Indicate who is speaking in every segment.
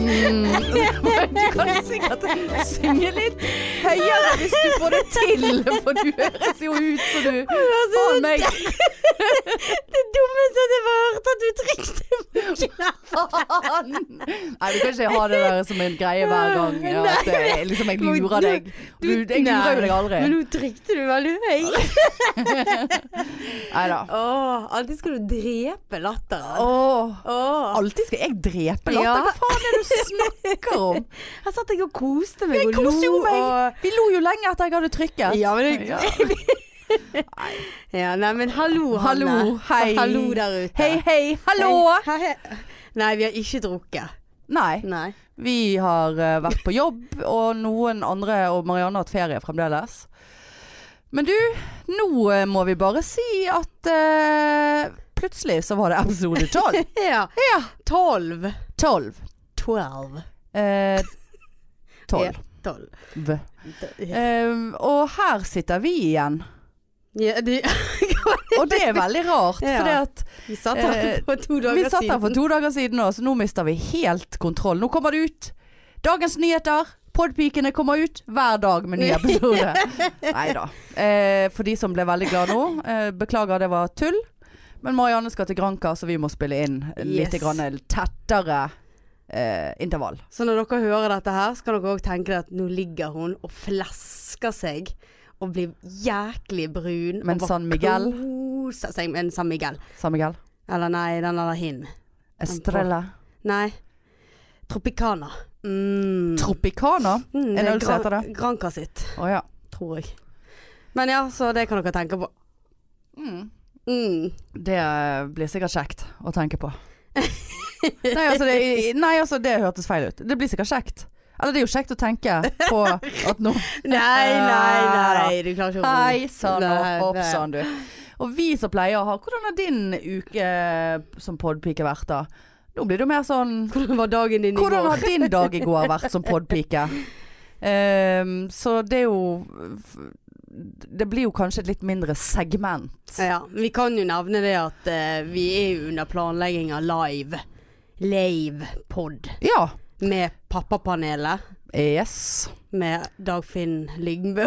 Speaker 1: Mm. slik at jeg synger litt høyere hvis du får det til, for du høres jo ut som du faen meg
Speaker 2: Det dummeste jeg har hørt, at du trykte på
Speaker 1: Faen! Nei, du kan ikke ha det der som en greie hver gang. Ja, at det, liksom, jeg lurer deg. Du, jeg lurer jo deg aldri.
Speaker 2: Men nå trykte du veldig høyt.
Speaker 1: Nei da.
Speaker 2: Åh, alltid skal du drepe latteren.
Speaker 1: Åh,
Speaker 2: Åh.
Speaker 1: Alltid skal jeg drepe latter.
Speaker 2: Ja.
Speaker 1: Hva faen er det du snakker om?
Speaker 2: Her satt jeg og koste meg
Speaker 1: Jeg
Speaker 2: og
Speaker 1: koser jo
Speaker 2: lo, og-
Speaker 1: meg. Vi lo jo lenge etter jeg hadde trykket.
Speaker 2: Ja, men det- Ja, nei, men hallo, Hanne.
Speaker 1: Hallo, hei.
Speaker 2: Hallo der ute.
Speaker 1: Hei, hei, hallo!
Speaker 2: Hei, hei. Nei, vi har ikke drukket.
Speaker 1: Nei,
Speaker 2: Nei.
Speaker 1: vi har eh, vært på jobb, og noen andre og Marianne har hatt ferie fremdeles. Men du, nå eh, må vi bare si at eh, plutselig så var det episode 12.
Speaker 2: Ja.
Speaker 1: ja,
Speaker 2: Tolv.
Speaker 1: 12.
Speaker 2: Twelve.
Speaker 1: Eh, 12.
Speaker 2: Tolv.
Speaker 1: Eh, og her sitter vi igjen.
Speaker 2: Ja, de,
Speaker 1: Og det er veldig rart,
Speaker 2: Ja.
Speaker 1: fordi at
Speaker 2: vi satt her
Speaker 1: Eh,
Speaker 2: for to dager
Speaker 1: Vi satt her
Speaker 2: siden.
Speaker 1: for to dager siden nå, så nå mister vi helt kontroll. Nå kommer det ut dagens nyheter. Podpikene kommer ut hver dag med ny episode. Nei da. Eh, for de som ble veldig glad nå, eh, beklager det var tull. Men Marianne skal til Granca, så vi må spille inn litt
Speaker 2: Yes.
Speaker 1: grann tettere eh, intervall.
Speaker 2: Så når dere hører dette her, så kan dere òg tenke dere at nå ligger hun og flasker seg. Og blir jæklig brun.
Speaker 1: Men
Speaker 2: og bare
Speaker 1: San Miguel?
Speaker 2: Koser seg med en San Miguel.
Speaker 1: Sa Miguel.
Speaker 2: Eller nei, den eller hin.
Speaker 1: Estrella.
Speaker 2: Nei. Tropicana. Mm.
Speaker 1: Tropicana?
Speaker 2: Mm,
Speaker 1: Er det
Speaker 2: er
Speaker 1: øl som
Speaker 2: Gran-
Speaker 1: heter det?
Speaker 2: Granca sitt,
Speaker 1: Å ja.
Speaker 2: tror jeg. Men ja, så det kan dere tenke på.
Speaker 1: Mm.
Speaker 2: Mm.
Speaker 1: Det blir sikkert kjekt å tenke på. nei, altså det, nei, altså det hørtes feil ut. Det blir sikkert kjekt. Eller det er jo kjekt å tenke på at nå
Speaker 2: Nei, nei, nei. Du klarer ikke å
Speaker 1: Hei sann og
Speaker 2: Nei,
Speaker 1: hopp
Speaker 2: nei.
Speaker 1: sann, du. Og vi som pleier å ha Hvordan har din uke eh, som podpike vært, da? Nå blir det jo mer sånn
Speaker 2: Hvordan var dagen din i
Speaker 1: Hvordan
Speaker 2: går?
Speaker 1: har din dag i går vært som podpike? Ehm, så det er jo Det blir jo kanskje et litt mindre segment.
Speaker 2: Ja, vi kan jo nevne det at eh, vi er jo under planlegging av live. Live pod.
Speaker 1: Ja.
Speaker 2: Med pappapanelet.
Speaker 1: Yes.
Speaker 2: Med Dagfinn Lyngbø.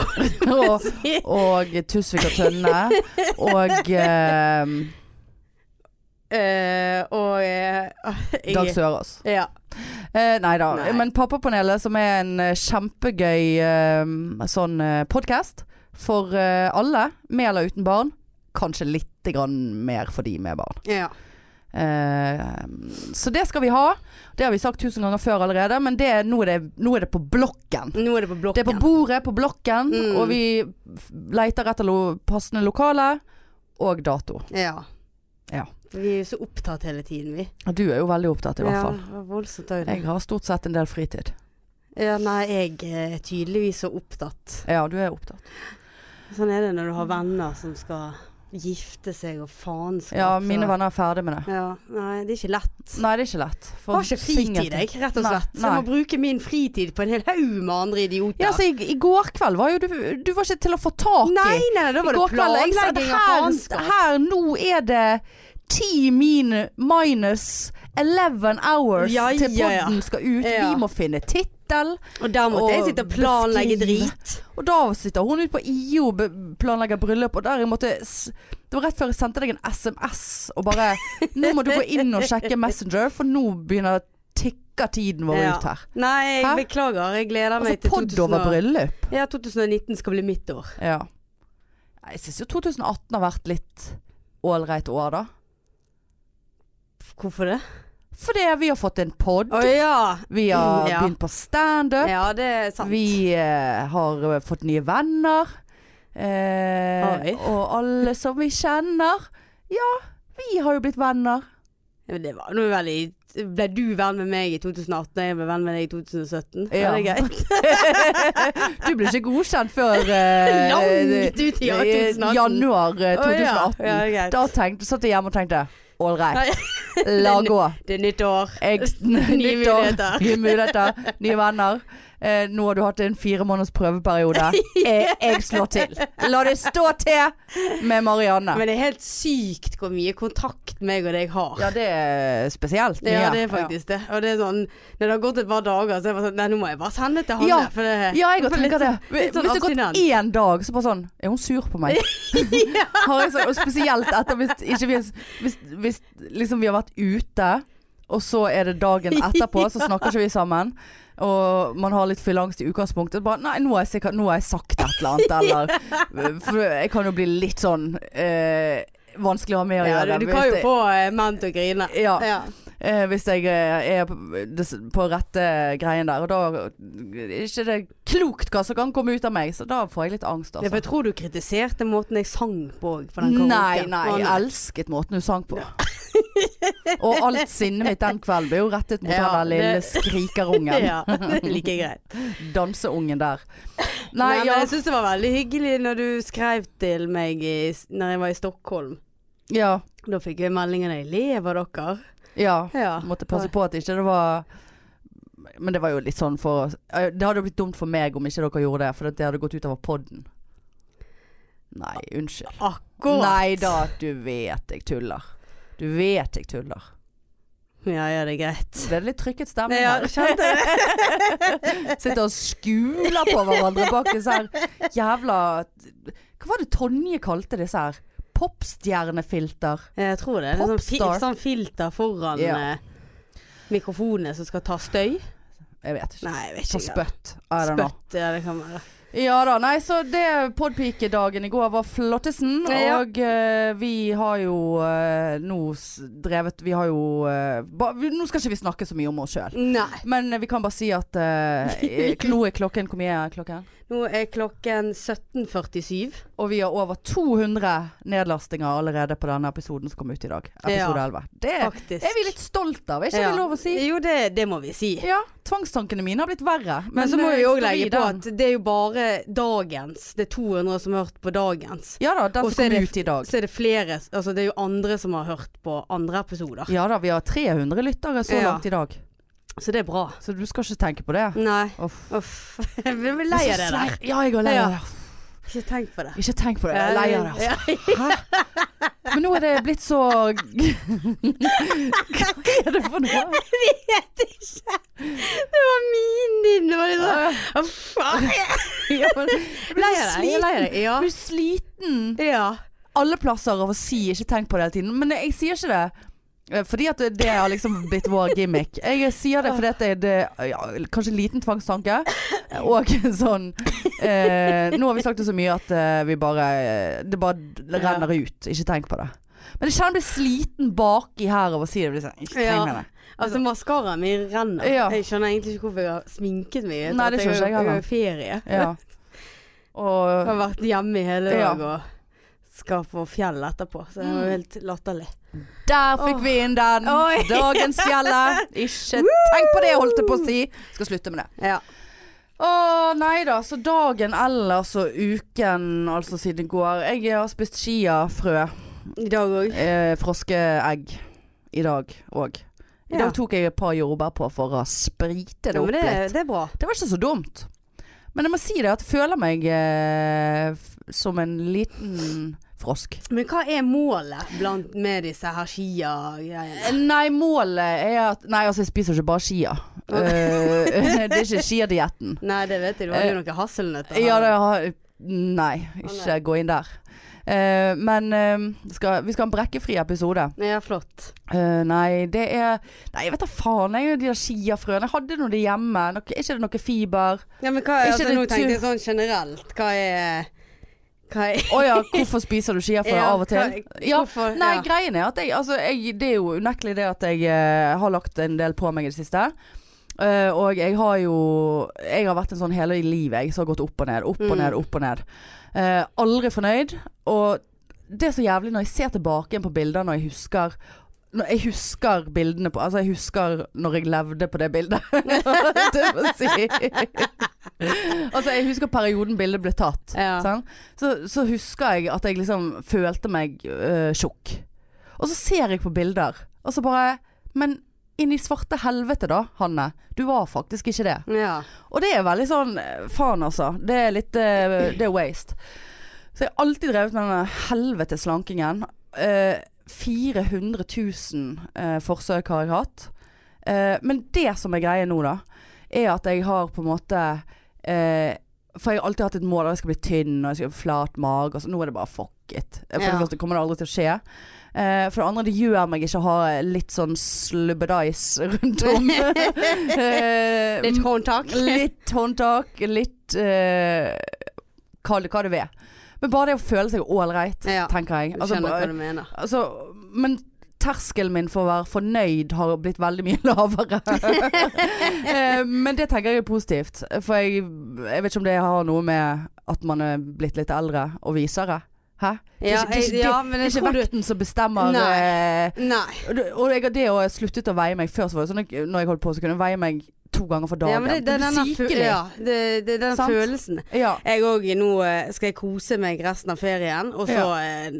Speaker 1: og, og Tusvik og Tønne. Og eh,
Speaker 2: Eh, og eh, jeg-
Speaker 1: Dag Sørås.
Speaker 2: Ja.
Speaker 1: Eh, nei da.
Speaker 2: Nei.
Speaker 1: Men Pappapanelet, som er en eh, kjempegøy eh, sånn eh, podkast for eh, alle, med eller uten barn. Kanskje litt grann mer for de med barn.
Speaker 2: ja.
Speaker 1: Eh, så det skal vi ha. Det har vi sagt tusen ganger før allerede, men det, er- nå, er det, nå er det på blokken.
Speaker 2: Nå er det på blokken.
Speaker 1: Det er på bordet på blokken,
Speaker 2: Mm.
Speaker 1: og vi f- leter etter lo passende lokale og dato.
Speaker 2: Ja.
Speaker 1: Ja.
Speaker 2: Vi er jo så opptatt hele tiden, vi.
Speaker 1: Ja, Du er jo veldig opptatt i hvert fall.
Speaker 2: Ja, det var voldsomt òg.
Speaker 1: Jeg har stort sett en del fritid.
Speaker 2: Ja, nei, jeg er tydeligvis så opptatt.
Speaker 1: Ja, du er opptatt.
Speaker 2: Sånn er det når du har venner som skal gifte seg og faenskap.
Speaker 1: Ja,
Speaker 2: så-
Speaker 1: mine venner er ferdig med det.
Speaker 2: Ja, nei, det er ikke lett.
Speaker 1: Nei, det er ikke lett. For
Speaker 2: Har ikke fritid,
Speaker 1: singeltid-
Speaker 2: jeg, rett og
Speaker 1: Nei,
Speaker 2: slett. Så jeg må
Speaker 1: nei.
Speaker 2: bruke min fritid på en hel haug med andre idioter.
Speaker 1: Ja, altså, i, I går kveld var jo du Du var ikke til å få tak i.
Speaker 2: nei, nei, nei, da
Speaker 1: I
Speaker 2: var det
Speaker 1: går kveld jeg sa at
Speaker 2: planlegging av
Speaker 1: her,
Speaker 2: faenskap.
Speaker 1: her nå er det ti min minus 11 hours
Speaker 2: Ja,
Speaker 1: til
Speaker 2: ja, ja.
Speaker 1: podden skal ut.
Speaker 2: Ja.
Speaker 1: Vi må finne tittel.
Speaker 2: Og der måtte
Speaker 1: Og
Speaker 2: jeg sitte og planlegge
Speaker 1: beskrive.
Speaker 2: drit.
Speaker 1: Og da sitter hun ute på IO og be- planlegger bryllup, og der jeg måtte s- Det var rett før jeg sendte deg en SMS og bare Nå må du gå inn og sjekke Messenger, for nå begynner tikker tiden vår
Speaker 2: Ja.
Speaker 1: ut her.
Speaker 2: Nei, jeg
Speaker 1: Hæ?
Speaker 2: beklager. Jeg gleder meg
Speaker 1: Altså pod
Speaker 2: til 2000
Speaker 1: over
Speaker 2: og-
Speaker 1: bryllup.
Speaker 2: Ja, 2019 skal bli mitt år.
Speaker 1: Ja. Nei, Jeg syns jo 2018 har vært litt ålreit år, da.
Speaker 2: Hvorfor det?
Speaker 1: Fordi vi har fått en pod,
Speaker 2: Å ja.
Speaker 1: vi har
Speaker 2: Mm, ja.
Speaker 1: begynt på standup,
Speaker 2: Ja, det er sant.
Speaker 1: vi eh, har eh, fått nye venner. Eh,
Speaker 2: Oi.
Speaker 1: og alle som vi kjenner. Ja, vi har jo blitt venner.
Speaker 2: Ja, men Det var noe veldig Ble du venn med meg i 2018, og jeg ble venn med deg i 2017?
Speaker 1: Ja.
Speaker 2: Er det greit?
Speaker 1: Du ble ikke godkjent før eh,
Speaker 2: Langt ut i år,
Speaker 1: eh,
Speaker 2: 2018.
Speaker 1: januar eh, 2018.
Speaker 2: Å, ja. Ja, det er greit.
Speaker 1: Da tenkte, satt jeg hjemme og tenkte All right,
Speaker 2: Nei,
Speaker 1: la gå.
Speaker 2: det er nytt år.
Speaker 1: Jeg, nytt år,
Speaker 2: muligheter.
Speaker 1: nye muligheter, nye venner. Eh, nå har du hatt en fire måneders prøveperiode. Jeg, jeg slår til. La det stå til med Marianne.
Speaker 2: Men det er helt sykt hvor mye kontakt meg og deg har.
Speaker 1: Ja, det er spesielt.
Speaker 2: Det, ja, det er faktisk det. Og det er sånn, når det har gått et par dager, så er jeg bare sånn Nei, nå må jeg bare sende det til Hanne.
Speaker 1: Ja.
Speaker 2: For det,
Speaker 1: Ja, jeg òg
Speaker 2: for
Speaker 1: tenker det.
Speaker 2: litt-
Speaker 1: Hvis
Speaker 2: litt sånn
Speaker 1: det har gått
Speaker 2: abstinent.
Speaker 1: én dag, så bare sånn Er hun sur på meg? har jeg så, og spesielt etter hvis, ikke vi, hvis, hvis liksom vi har vært ute, og så er det dagen etterpå, så snakker ikke vi sammen. Og man har litt fylleangst i utgangspunktet. Bare, nei, nå har, jeg sikkert, nå har jeg sagt et eller annet, eller For jeg kan jo bli litt sånn eh, vanskelig å ha med å
Speaker 2: Ja,
Speaker 1: gjøre.
Speaker 2: du, du
Speaker 1: hvis
Speaker 2: kan jo
Speaker 1: jeg-
Speaker 2: få eh, menn til å grine.
Speaker 1: Ja.
Speaker 2: Ja.
Speaker 1: Eh, hvis jeg eh, er på, des- på rette greien der, og da er ikke det klokt hva som kan komme ut av meg, så da får jeg litt angst,
Speaker 2: Ja, for
Speaker 1: altså.
Speaker 2: jeg tror du kritiserte måten jeg sang på òg.
Speaker 1: Nei, nei, jeg elsket måten du sang på. og alt sinnet mitt den kvelden ble jo rettet mot
Speaker 2: Ja,
Speaker 1: han der lille
Speaker 2: det-
Speaker 1: skrikerungen.
Speaker 2: Ja, det er like greit.
Speaker 1: Danseungen der.
Speaker 2: Nei,
Speaker 1: Nei,
Speaker 2: men
Speaker 1: ja,
Speaker 2: jeg syns det var veldig hyggelig når du skrev til meg i, når jeg var i Stockholm.
Speaker 1: ja,
Speaker 2: Da fikk jeg melding av deg. Lever dere?
Speaker 1: ja.
Speaker 2: Ja.
Speaker 1: Måtte passe på at ikke det var Men det var jo litt sånn for eh, Det hadde jo blitt dumt for meg om ikke dere gjorde det, for det hadde gått utover podden. Nei, unnskyld.
Speaker 2: Akkurat.
Speaker 1: Nei da, du vet jeg tuller. Du vet jeg tuller.
Speaker 2: Ja, ja, det er greit.
Speaker 1: Ble det litt trykket stemme
Speaker 2: Ja,
Speaker 1: her?
Speaker 2: kjente jeg det.
Speaker 1: Sitter og skuler på hverandre bak disse her jævla Hva var det Tonje kalte disse her? Popstjernefilter.
Speaker 2: Jeg tror det. det er sånn,
Speaker 1: Popstar.
Speaker 2: fil sånn filter foran
Speaker 1: Ja.
Speaker 2: eh, mikrofonene som skal ta støy.
Speaker 1: Jeg vet ikke.
Speaker 2: Nei, jeg vet
Speaker 1: Så
Speaker 2: ikke.
Speaker 1: spøtt. I don't know.
Speaker 2: Spøtt, ja, det kan være.
Speaker 1: Ja da, nei så det podpikedagen i går var flottesen.
Speaker 2: Ja.
Speaker 1: Og eh, vi har jo eh, nå s- drevet Vi har jo eh, ba, vi, Nå skal ikke vi snakke så mye om oss sjøl.
Speaker 2: Nei.
Speaker 1: Men eh, vi kan bare si at eh, nå er klokken Hvor mye er klokken?
Speaker 2: Nå er klokken 17.47.
Speaker 1: Og vi har over 200 nedlastinger allerede på denne episoden som kom ut i dag. Episode
Speaker 2: Ja.
Speaker 1: 11. Det
Speaker 2: Faktisk.
Speaker 1: er vi litt stolt av, er ikke
Speaker 2: Ja.
Speaker 1: det lov å si?
Speaker 2: Jo, det, det må vi si.
Speaker 1: Ja. Tvangstankene mine har blitt verre.
Speaker 2: Men, så må
Speaker 1: eh,
Speaker 2: vi òg
Speaker 1: står
Speaker 2: legge på
Speaker 1: den?
Speaker 2: at det er jo bare dagens. Det er 200 som har hørt på dagens.
Speaker 1: Ja da, den
Speaker 2: Og så
Speaker 1: som
Speaker 2: er
Speaker 1: kom
Speaker 2: det-
Speaker 1: ut i dag.
Speaker 2: Så er det flere Altså, det er jo andre som har hørt på andre episoder.
Speaker 1: Ja da, vi har 300 lyttere så
Speaker 2: Ja.
Speaker 1: langt i dag.
Speaker 2: Så det er bra.
Speaker 1: Så du skal ikke tenke på det.
Speaker 2: Nei.
Speaker 1: Uff.
Speaker 2: Uff. Jeg blir lei av det der.
Speaker 1: Ja, jeg er lei av det. altså.
Speaker 2: Ikke tenk på det.
Speaker 1: Ikke tenk på det. Jeg er lei av det.
Speaker 2: Ja.
Speaker 1: altså. Hæ? Men nå er det blitt så Hva er det for noe?
Speaker 2: Det var min din. Det var litt sånn
Speaker 1: Ja,
Speaker 2: Å, faen.
Speaker 1: men Jeg blir
Speaker 2: Lei
Speaker 1: så
Speaker 2: av det. Jeg er lei
Speaker 1: sliten.
Speaker 2: av det. Ja.
Speaker 1: Jeg blir sliten
Speaker 2: ja.
Speaker 1: Ah. alle plasser av å si 'ikke tenk på det hele tiden', men jeg sier ikke det. eh, Fordi at det har liksom blitt vår gimmick. Jeg sier det fordi at det er det- ja, kanskje en liten tvangstanke. Og sånn eh, Nå har vi sagt det så mye at eh, vi bare Det bare renner ut. Ikke tenk på det. Men jeg kjenner jeg blir sliten baki her av å si det. Jeg blir sånn, Ikke
Speaker 2: Ja.
Speaker 1: tenk på det.
Speaker 2: Altså, maskaraen min renner.
Speaker 1: Ja.
Speaker 2: Jeg skjønner egentlig ikke hvorfor jeg har sminket meg. Jeg
Speaker 1: Nei,
Speaker 2: tror
Speaker 1: det
Speaker 2: at jeg
Speaker 1: skjønner jeg
Speaker 2: har-
Speaker 1: heller.
Speaker 2: Jeg har ferie.
Speaker 1: Ja. Og
Speaker 2: Jeg har vært hjemme i hele
Speaker 1: Ja.
Speaker 2: dag og skal på fjell etterpå, så det var jo helt latterlig.
Speaker 1: Der fikk vi inn den.
Speaker 2: Oi.
Speaker 1: Dagens fjellet. Ikke tenk på det, holdt jeg på å si. Skal slutte med det.
Speaker 2: Ja.
Speaker 1: Å nei da, så dagen ellers og uken altså siden i går. Jeg har spist chiafrø,
Speaker 2: I dag òg.
Speaker 1: eh, froskeegg, i dag òg. I
Speaker 2: Ja.
Speaker 1: dag tok jeg et par jordbær på for å sprite det
Speaker 2: Ja,
Speaker 1: opp
Speaker 2: men det,
Speaker 1: litt.
Speaker 2: det er bra.
Speaker 1: Det var ikke så dumt. Men jeg må si det at jeg føler meg eh, f- som en liten frosk.
Speaker 2: Men hva er målet blant med disse her skia-greiene?
Speaker 1: Nei, målet er at Nei, altså jeg spiser ikke bare chia. Eh, det er ikke chiadietten.
Speaker 2: Nei, det vet jeg. Du har jo noen hasselnøtter.
Speaker 1: Ja, det
Speaker 2: her.
Speaker 1: har Nei, ikke gå inn der. Eh, men eh, skal, vi skal ha en brekkefri episode.
Speaker 2: Ja, flott.
Speaker 1: Eh, nei, det er Nei, jeg vet da faen. Jeg, de der chiafrøene. Jeg hadde nå det hjemme. Nok, er ikke det noe fiber?
Speaker 2: Ja, men hva
Speaker 1: Er
Speaker 2: er
Speaker 1: ikke
Speaker 2: altså,
Speaker 1: det
Speaker 2: Nå
Speaker 1: tur-
Speaker 2: tenkte jeg sånn generelt. Hva er Hva er
Speaker 1: Å ja, hvorfor spiser du chiafrø
Speaker 2: Ja,
Speaker 1: av og til?
Speaker 2: hva-
Speaker 1: Ja,
Speaker 2: hvorfor-
Speaker 1: nei,
Speaker 2: ja.
Speaker 1: greien er at jeg, altså, jeg Det er jo unektelig det at jeg eh, har lagt en del på meg i det siste. Eh, og jeg har jo Jeg har vært en sånn hele livet jeg som har gått opp og ned, opp og
Speaker 2: Mm.
Speaker 1: ned, opp og ned. Eh, aldri fornøyd. Og det er så jævlig når jeg ser tilbake igjen på bilder når jeg husker når jeg husker bildene på Altså, jeg husker når jeg levde på det bildet. det må jeg si. altså, jeg husker perioden bildet ble tatt.
Speaker 2: Ja.
Speaker 1: sant? Så, så husker jeg at jeg liksom følte meg øh, tjukk. Og så ser jeg på bilder, og så bare Men inn i svarte helvete da, Hanne. Du var faktisk ikke det.
Speaker 2: Ja.
Speaker 1: Og det er veldig sånn eh, Faen, altså. Det er litt eh, Det er waste. Så jeg har alltid drevet med denne helvetes slankingen. Eh, 400 000 eh, forsøk har jeg hatt. Eh, men det som er greia nå, da, er at jeg har på en måte eh, For jeg har alltid hatt et mål at jeg skal bli tynn og jeg skal ha flat mage. Og så. Nå er det bare fuck it. Eh, For
Speaker 2: Ja.
Speaker 1: det første kommer det aldri til å skje. Eh, for det andre, det gjør meg ikke å ha litt sånn slubbedice rundt om. Eh,
Speaker 2: Litt håndtak.
Speaker 1: Litt håndtak, litt eh, Kall det hva du vil. Men bare det å føle seg ålreit,
Speaker 2: Ja,
Speaker 1: tenker jeg.
Speaker 2: Du
Speaker 1: Altså,
Speaker 2: skjønner hva
Speaker 1: bare,
Speaker 2: du mener.
Speaker 1: altså, men terskelen min for å være fornøyd har blitt veldig mye lavere. Eh, men det tenker jeg er positivt. For jeg, jeg vet ikke om det har noe med at man er blitt litt eldre og visere. Hæ? Det er
Speaker 2: Ja,
Speaker 1: ikke, det er
Speaker 2: jeg-
Speaker 1: ikke,
Speaker 2: ja,
Speaker 1: det,
Speaker 2: men
Speaker 1: det
Speaker 2: jeg
Speaker 1: er
Speaker 2: tror
Speaker 1: ikke
Speaker 2: du-
Speaker 1: vekten som bestemmer
Speaker 2: Nei.
Speaker 1: eh,
Speaker 2: Nei.
Speaker 1: og det- Og jeg, det å jeg sluttet å veie meg før, så var det sånn at jeg- når jeg holdt på, så kunne jeg veie meg to ganger for dagen.
Speaker 2: Ja, men det, det er
Speaker 1: blir
Speaker 2: denne, fø-
Speaker 1: sykelig.
Speaker 2: ja, det, det er den
Speaker 1: Sant?
Speaker 2: følelsen.
Speaker 1: Ja.
Speaker 2: Jeg òg nå eh, skal jeg kose meg resten av ferien, og så eh,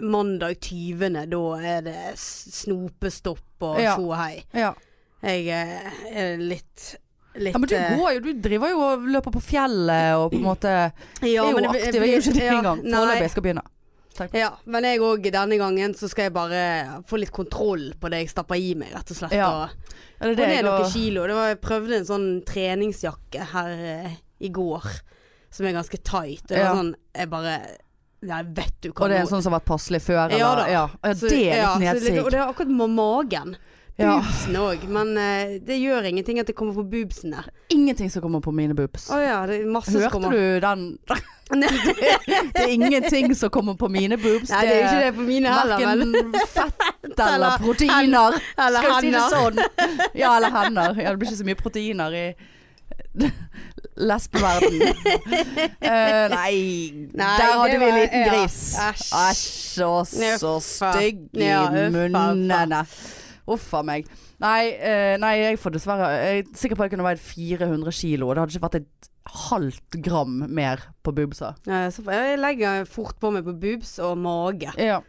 Speaker 2: mandag 20. da er det s- snopestopp og
Speaker 1: Ja.
Speaker 2: tjo og hei.
Speaker 1: ja.
Speaker 2: Jeg eh, er litt litt
Speaker 1: ja, men du
Speaker 2: eh,
Speaker 1: går jo, du driver jo og løper på fjellet og på en måte
Speaker 2: ja,
Speaker 1: er jo
Speaker 2: men det-
Speaker 1: aktiv. Jeg er jo ikke det
Speaker 2: ja,
Speaker 1: engang. Foreløpig
Speaker 2: Nei.
Speaker 1: jeg skal begynne.
Speaker 2: Ja, men jeg òg denne gangen så skal jeg bare få litt kontroll på det jeg stapper i meg, rett og slett.
Speaker 1: Ja,
Speaker 2: Og,
Speaker 1: Ja, det
Speaker 2: og ned
Speaker 1: jeg
Speaker 2: noen
Speaker 1: og-
Speaker 2: kilo. Det var, jeg prøvde en sånn treningsjakke her eh, i går som er ganske tight. Og det
Speaker 1: Ja.
Speaker 2: var sånn Jeg bare Nei, vet du hva
Speaker 1: Og det er en
Speaker 2: nå-
Speaker 1: sånn som har vært passelig før, eller?
Speaker 2: Ja da.
Speaker 1: Ja, ja
Speaker 2: Så-
Speaker 1: det er
Speaker 2: ja,
Speaker 1: litt
Speaker 2: så det- Og
Speaker 1: nedsig.
Speaker 2: det er akkurat med magen.
Speaker 1: Ja.
Speaker 2: Boobsene òg. Men eh, det gjør ingenting at det kommer på boobsene.
Speaker 1: Ingenting som kommer på mine boobs.
Speaker 2: Å ja, det er masse som
Speaker 1: Hørte
Speaker 2: kommer.
Speaker 1: du den?
Speaker 2: Nei,
Speaker 1: Det er ingenting som kommer på mine boobs.
Speaker 2: Nei, det er jo ikke det på mine heller, men
Speaker 1: Verken fett
Speaker 2: Eller-
Speaker 1: eller proteiner.
Speaker 2: Eller
Speaker 1: Skal vi si det
Speaker 2: hender.
Speaker 1: sånn? Ja, eller hender. Ja, det blir ikke så mye proteiner i lesbeverden. Eh, nei,
Speaker 2: Nei,
Speaker 1: der hadde
Speaker 2: det
Speaker 1: vi en
Speaker 2: var-
Speaker 1: liten
Speaker 2: ja.
Speaker 1: gris.
Speaker 2: Æsj.
Speaker 1: Æsj, og så
Speaker 2: Uffa.
Speaker 1: stygg i
Speaker 2: Ja, uffa, uffa.
Speaker 1: munnene. Uff a meg. Nei, eh, nei, jeg får dessverre Jeg er sikker på at jeg kunne veid 400 kilo, og det hadde ikke vært et halvt gram mer på boobsa.
Speaker 2: Ja, Eh, så jeg legger fort på meg på boobs og mage.
Speaker 1: Ja.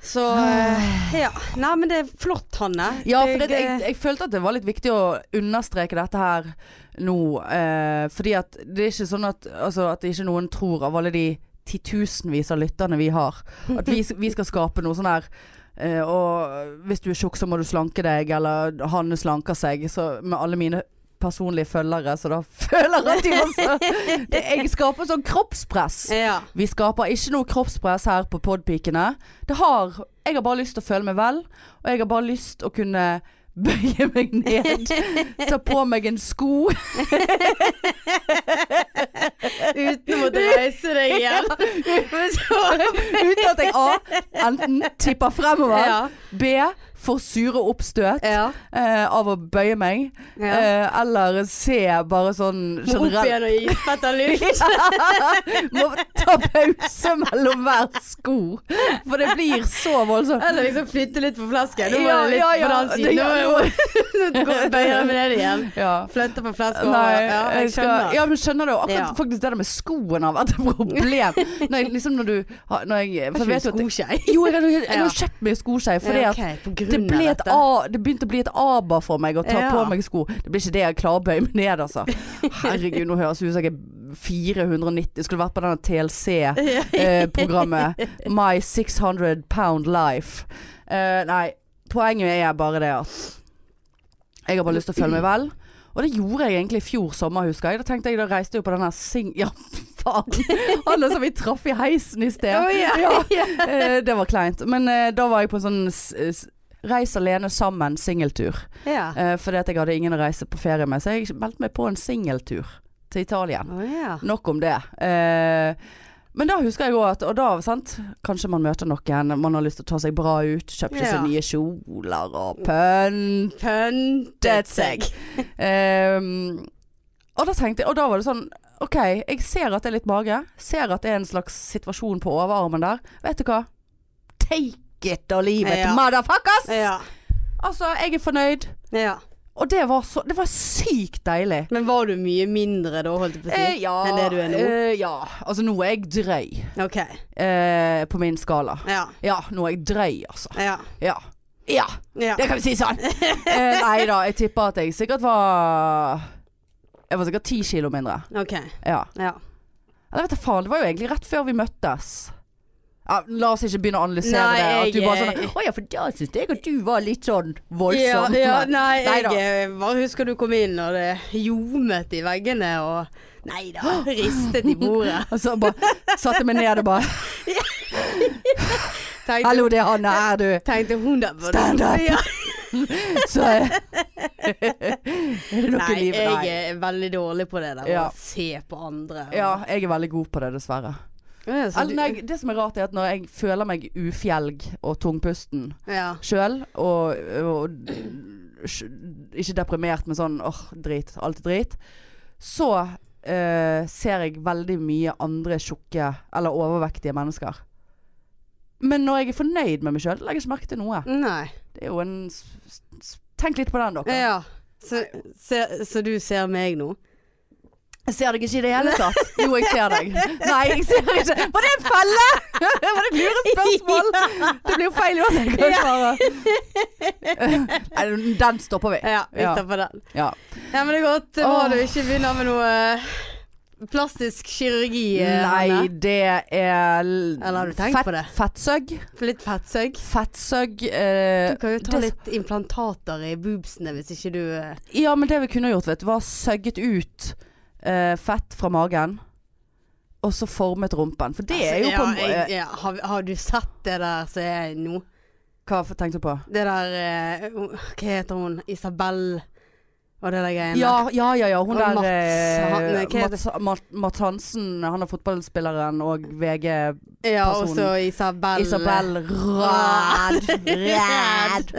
Speaker 2: Så eh, ja. Nei, men det er flott, Hanne.
Speaker 1: Ah. Ja, for det, jeg, jeg følte at det var litt viktig å understreke dette her nå. Eh, fordi at det er ikke sånn at, altså, at ikke noen tror av alle de titusenvis av lytterne vi har, at vi, vi skal skape noe sånn her eh, Og hvis du er tjukk, så må du slanke deg, eller han slanker seg. Så med alle mine personlige følgere, så da føler jeg at de også det, Jeg skaper sånn kroppspress.
Speaker 2: eh, ja.
Speaker 1: Vi skaper ikke noe kroppspress her på podpikene. Det har Jeg har bare lyst til å føle meg vel, og jeg har bare lyst å kunne bøye meg ned, ta på meg en sko.
Speaker 2: Uten å måtte reise deg igjen. Men så-
Speaker 1: Uten at jeg A. Enten tipper fremover.
Speaker 2: ja.
Speaker 1: B. Får sure oppstøt
Speaker 2: ja.
Speaker 1: eh, av å bøye meg.
Speaker 2: ja.
Speaker 1: Eh, eller C. Bare sånn
Speaker 2: Må opp
Speaker 1: generelt
Speaker 2: igjen og gi fett av luft.
Speaker 1: Må ta pause mellom hver sko. For det blir så voldsomt.
Speaker 2: Eller liksom flytte litt på flasken. Nå må
Speaker 1: Ja,
Speaker 2: jeg litt
Speaker 1: ja, ja.
Speaker 2: på den
Speaker 1: Det-
Speaker 2: siden. Nå må jeg nå går- bøyer jeg meg ned igjen.
Speaker 1: Ja.
Speaker 2: Flytte på flasken.
Speaker 1: Nei,
Speaker 2: og- ja, jeg
Speaker 1: skal,
Speaker 2: skjønner.
Speaker 1: ja, men skjønner du akkurat
Speaker 2: Ja.
Speaker 1: faktisk det der med skoen har vært et problem. Når jeg, liksom når du har- når jeg, for jeg vet jo at det,
Speaker 2: skoskei?
Speaker 1: Jo, jeg, har- jeg,
Speaker 2: Ja.
Speaker 1: har kjøpt meg skoskei fordi at det, ble et
Speaker 2: A.
Speaker 1: a, det begynte å bli et aber for meg å ta
Speaker 2: Ja.
Speaker 1: på meg sko. Det blir ikke det jeg klarbøyer meg ned, altså. Herregud, nå høres det ut som jeg er 490 Skulle vært på denne TLC-programmet. eh, My 600 Pound Life. Eh, nei, poenget er bare det at jeg har bare lyst til å føle meg vel. Og det gjorde jeg egentlig i fjor sommer, husker jeg. Da tenkte jeg, da reiste jeg jo på den her sing... Ja, faen! Alle som vi traff i heisen i sted. Ja. Eh, det var kleint. Men eh, da var jeg på en sånn s s reis alene sammen singeltur.
Speaker 2: Ja.
Speaker 1: Eh, fordi at jeg hadde ingen å reise på ferie med, så jeg meldte meg på en singeltur til Italia.
Speaker 2: Å ja.
Speaker 1: Nok om det. Eh, men da husker jeg òg at Og da, sant. Kanskje man møter noen, man har lyst til å ta seg bra ut. Kjøpte
Speaker 2: Ja.
Speaker 1: seg nye kjoler og pønt
Speaker 2: Pøntet
Speaker 1: pyntet seg. Ehm, og da tenkte jeg, og da var det sånn OK, jeg ser at det er litt mage. Ser at det er en slags situasjon på overarmen der. Vet du hva? Take it og leave it,
Speaker 2: Ja.
Speaker 1: motherfuckers!
Speaker 2: Ja.
Speaker 1: Altså, jeg er fornøyd.
Speaker 2: ja.
Speaker 1: Og det var så Det var sykt deilig.
Speaker 2: Men var du mye mindre da, holdt jeg på å
Speaker 1: Eh,
Speaker 2: si?
Speaker 1: ja,
Speaker 2: enn det du er nå?
Speaker 1: eh, ja. Altså, nå er jeg drøy
Speaker 2: OK.
Speaker 1: eh, på min skala.
Speaker 2: Ja.
Speaker 1: Ja, nå er jeg drøy, altså.
Speaker 2: Ja.
Speaker 1: Ja. Ja,
Speaker 2: Ja.
Speaker 1: det kan vi si sånn. Eh, nei da, jeg tipper at jeg sikkert var Jeg var sikkert ti kilo mindre.
Speaker 2: Ok.
Speaker 1: Ja.
Speaker 2: Ja.
Speaker 1: Eller vet du faen, det var jo egentlig rett før vi møttes. Ja, la oss ikke begynne å analysere
Speaker 2: Nei,
Speaker 1: det. At du
Speaker 2: jeg-
Speaker 1: bare sånn Å ja, for da syns jeg at du var litt sånn
Speaker 2: Ja,
Speaker 1: voldsom.
Speaker 2: ja,
Speaker 1: Nei
Speaker 2: nei, jeg
Speaker 1: da.
Speaker 2: eh, bare husker du kom inn og det ljomet i veggene og Nei da, ristet i bordet.
Speaker 1: Og så bare satte meg ned og bare
Speaker 2: Tenkte,
Speaker 1: Hallo, det er Hanne her, du.
Speaker 2: tenkte hun der
Speaker 1: Stand up.
Speaker 2: Ja.
Speaker 1: Så eh, Er det noe
Speaker 2: Nei,
Speaker 1: i livet?
Speaker 2: jeg
Speaker 1: Nei.
Speaker 2: er veldig dårlig på det der med
Speaker 1: Ja.
Speaker 2: å se på andre. og-
Speaker 1: Ja, jeg er veldig god på det, dessverre.
Speaker 2: Ja, så
Speaker 1: Eller, nei, det som er rart, er at når jeg føler meg ufjelg og tungpusten
Speaker 2: du, ja.
Speaker 1: sjøl, og, og sj- ikke deprimert, men sånn åh, drit, alt er drit, så eh, ser jeg veldig mye andre tjukke eller overvektige mennesker. Men når jeg er fornøyd med meg sjøl, legger jeg ikke merke til noe.
Speaker 2: Nei.
Speaker 1: Det er jo en s- s- s- Tenk litt på den, dere.
Speaker 2: Ja. Så, så, så du ser meg nå?
Speaker 1: Jeg ser deg ikke i det hele tatt. Jo, jeg ser deg. Nei, jeg ser ikke. Var det en felle? Var det et lurespørsmål? Det blir jo feil uansett hva jeg svarer. Nei, Den stopper vi.
Speaker 2: Ja, vi
Speaker 1: Ja.
Speaker 2: tar på den.
Speaker 1: Ja.
Speaker 2: Ja, men det er godt det var
Speaker 1: Åh.
Speaker 2: du ikke begynner med noe eh, plastisk kirurgi. eh,
Speaker 1: Nei,
Speaker 2: Anne.
Speaker 1: det er l-
Speaker 2: Eller har du tenkt
Speaker 1: fett-
Speaker 2: på det?
Speaker 1: Fettsøgg.
Speaker 2: For Litt fettsøgg.
Speaker 1: Fettsøgg eh,
Speaker 2: Du kan jo
Speaker 1: det-
Speaker 2: ta litt implantater i boobsene hvis ikke du eh,
Speaker 1: Ja, men det vi kunne gjort, vet du, var søgget ut eh, fett fra magen. Og så formet rumpen. For det er jo
Speaker 2: altså,
Speaker 1: på
Speaker 2: ja, jeg,
Speaker 1: eh,
Speaker 2: ja, har, har du sett det der som er nå?
Speaker 1: Hva f- tenkte du på?
Speaker 2: Det der eh, hun- Hva heter hun? Isabel og det der greiene.
Speaker 1: Ja, ja, ja, ja. Hun
Speaker 2: Og
Speaker 1: der
Speaker 2: Mats,
Speaker 1: eh,
Speaker 2: han- nei, hva heter-
Speaker 1: Mats, Mats, Mats Hansen, han er fotballspilleren og VG
Speaker 2: ja og
Speaker 1: personen.
Speaker 2: så Isabel
Speaker 1: Isabel Rad. Rad.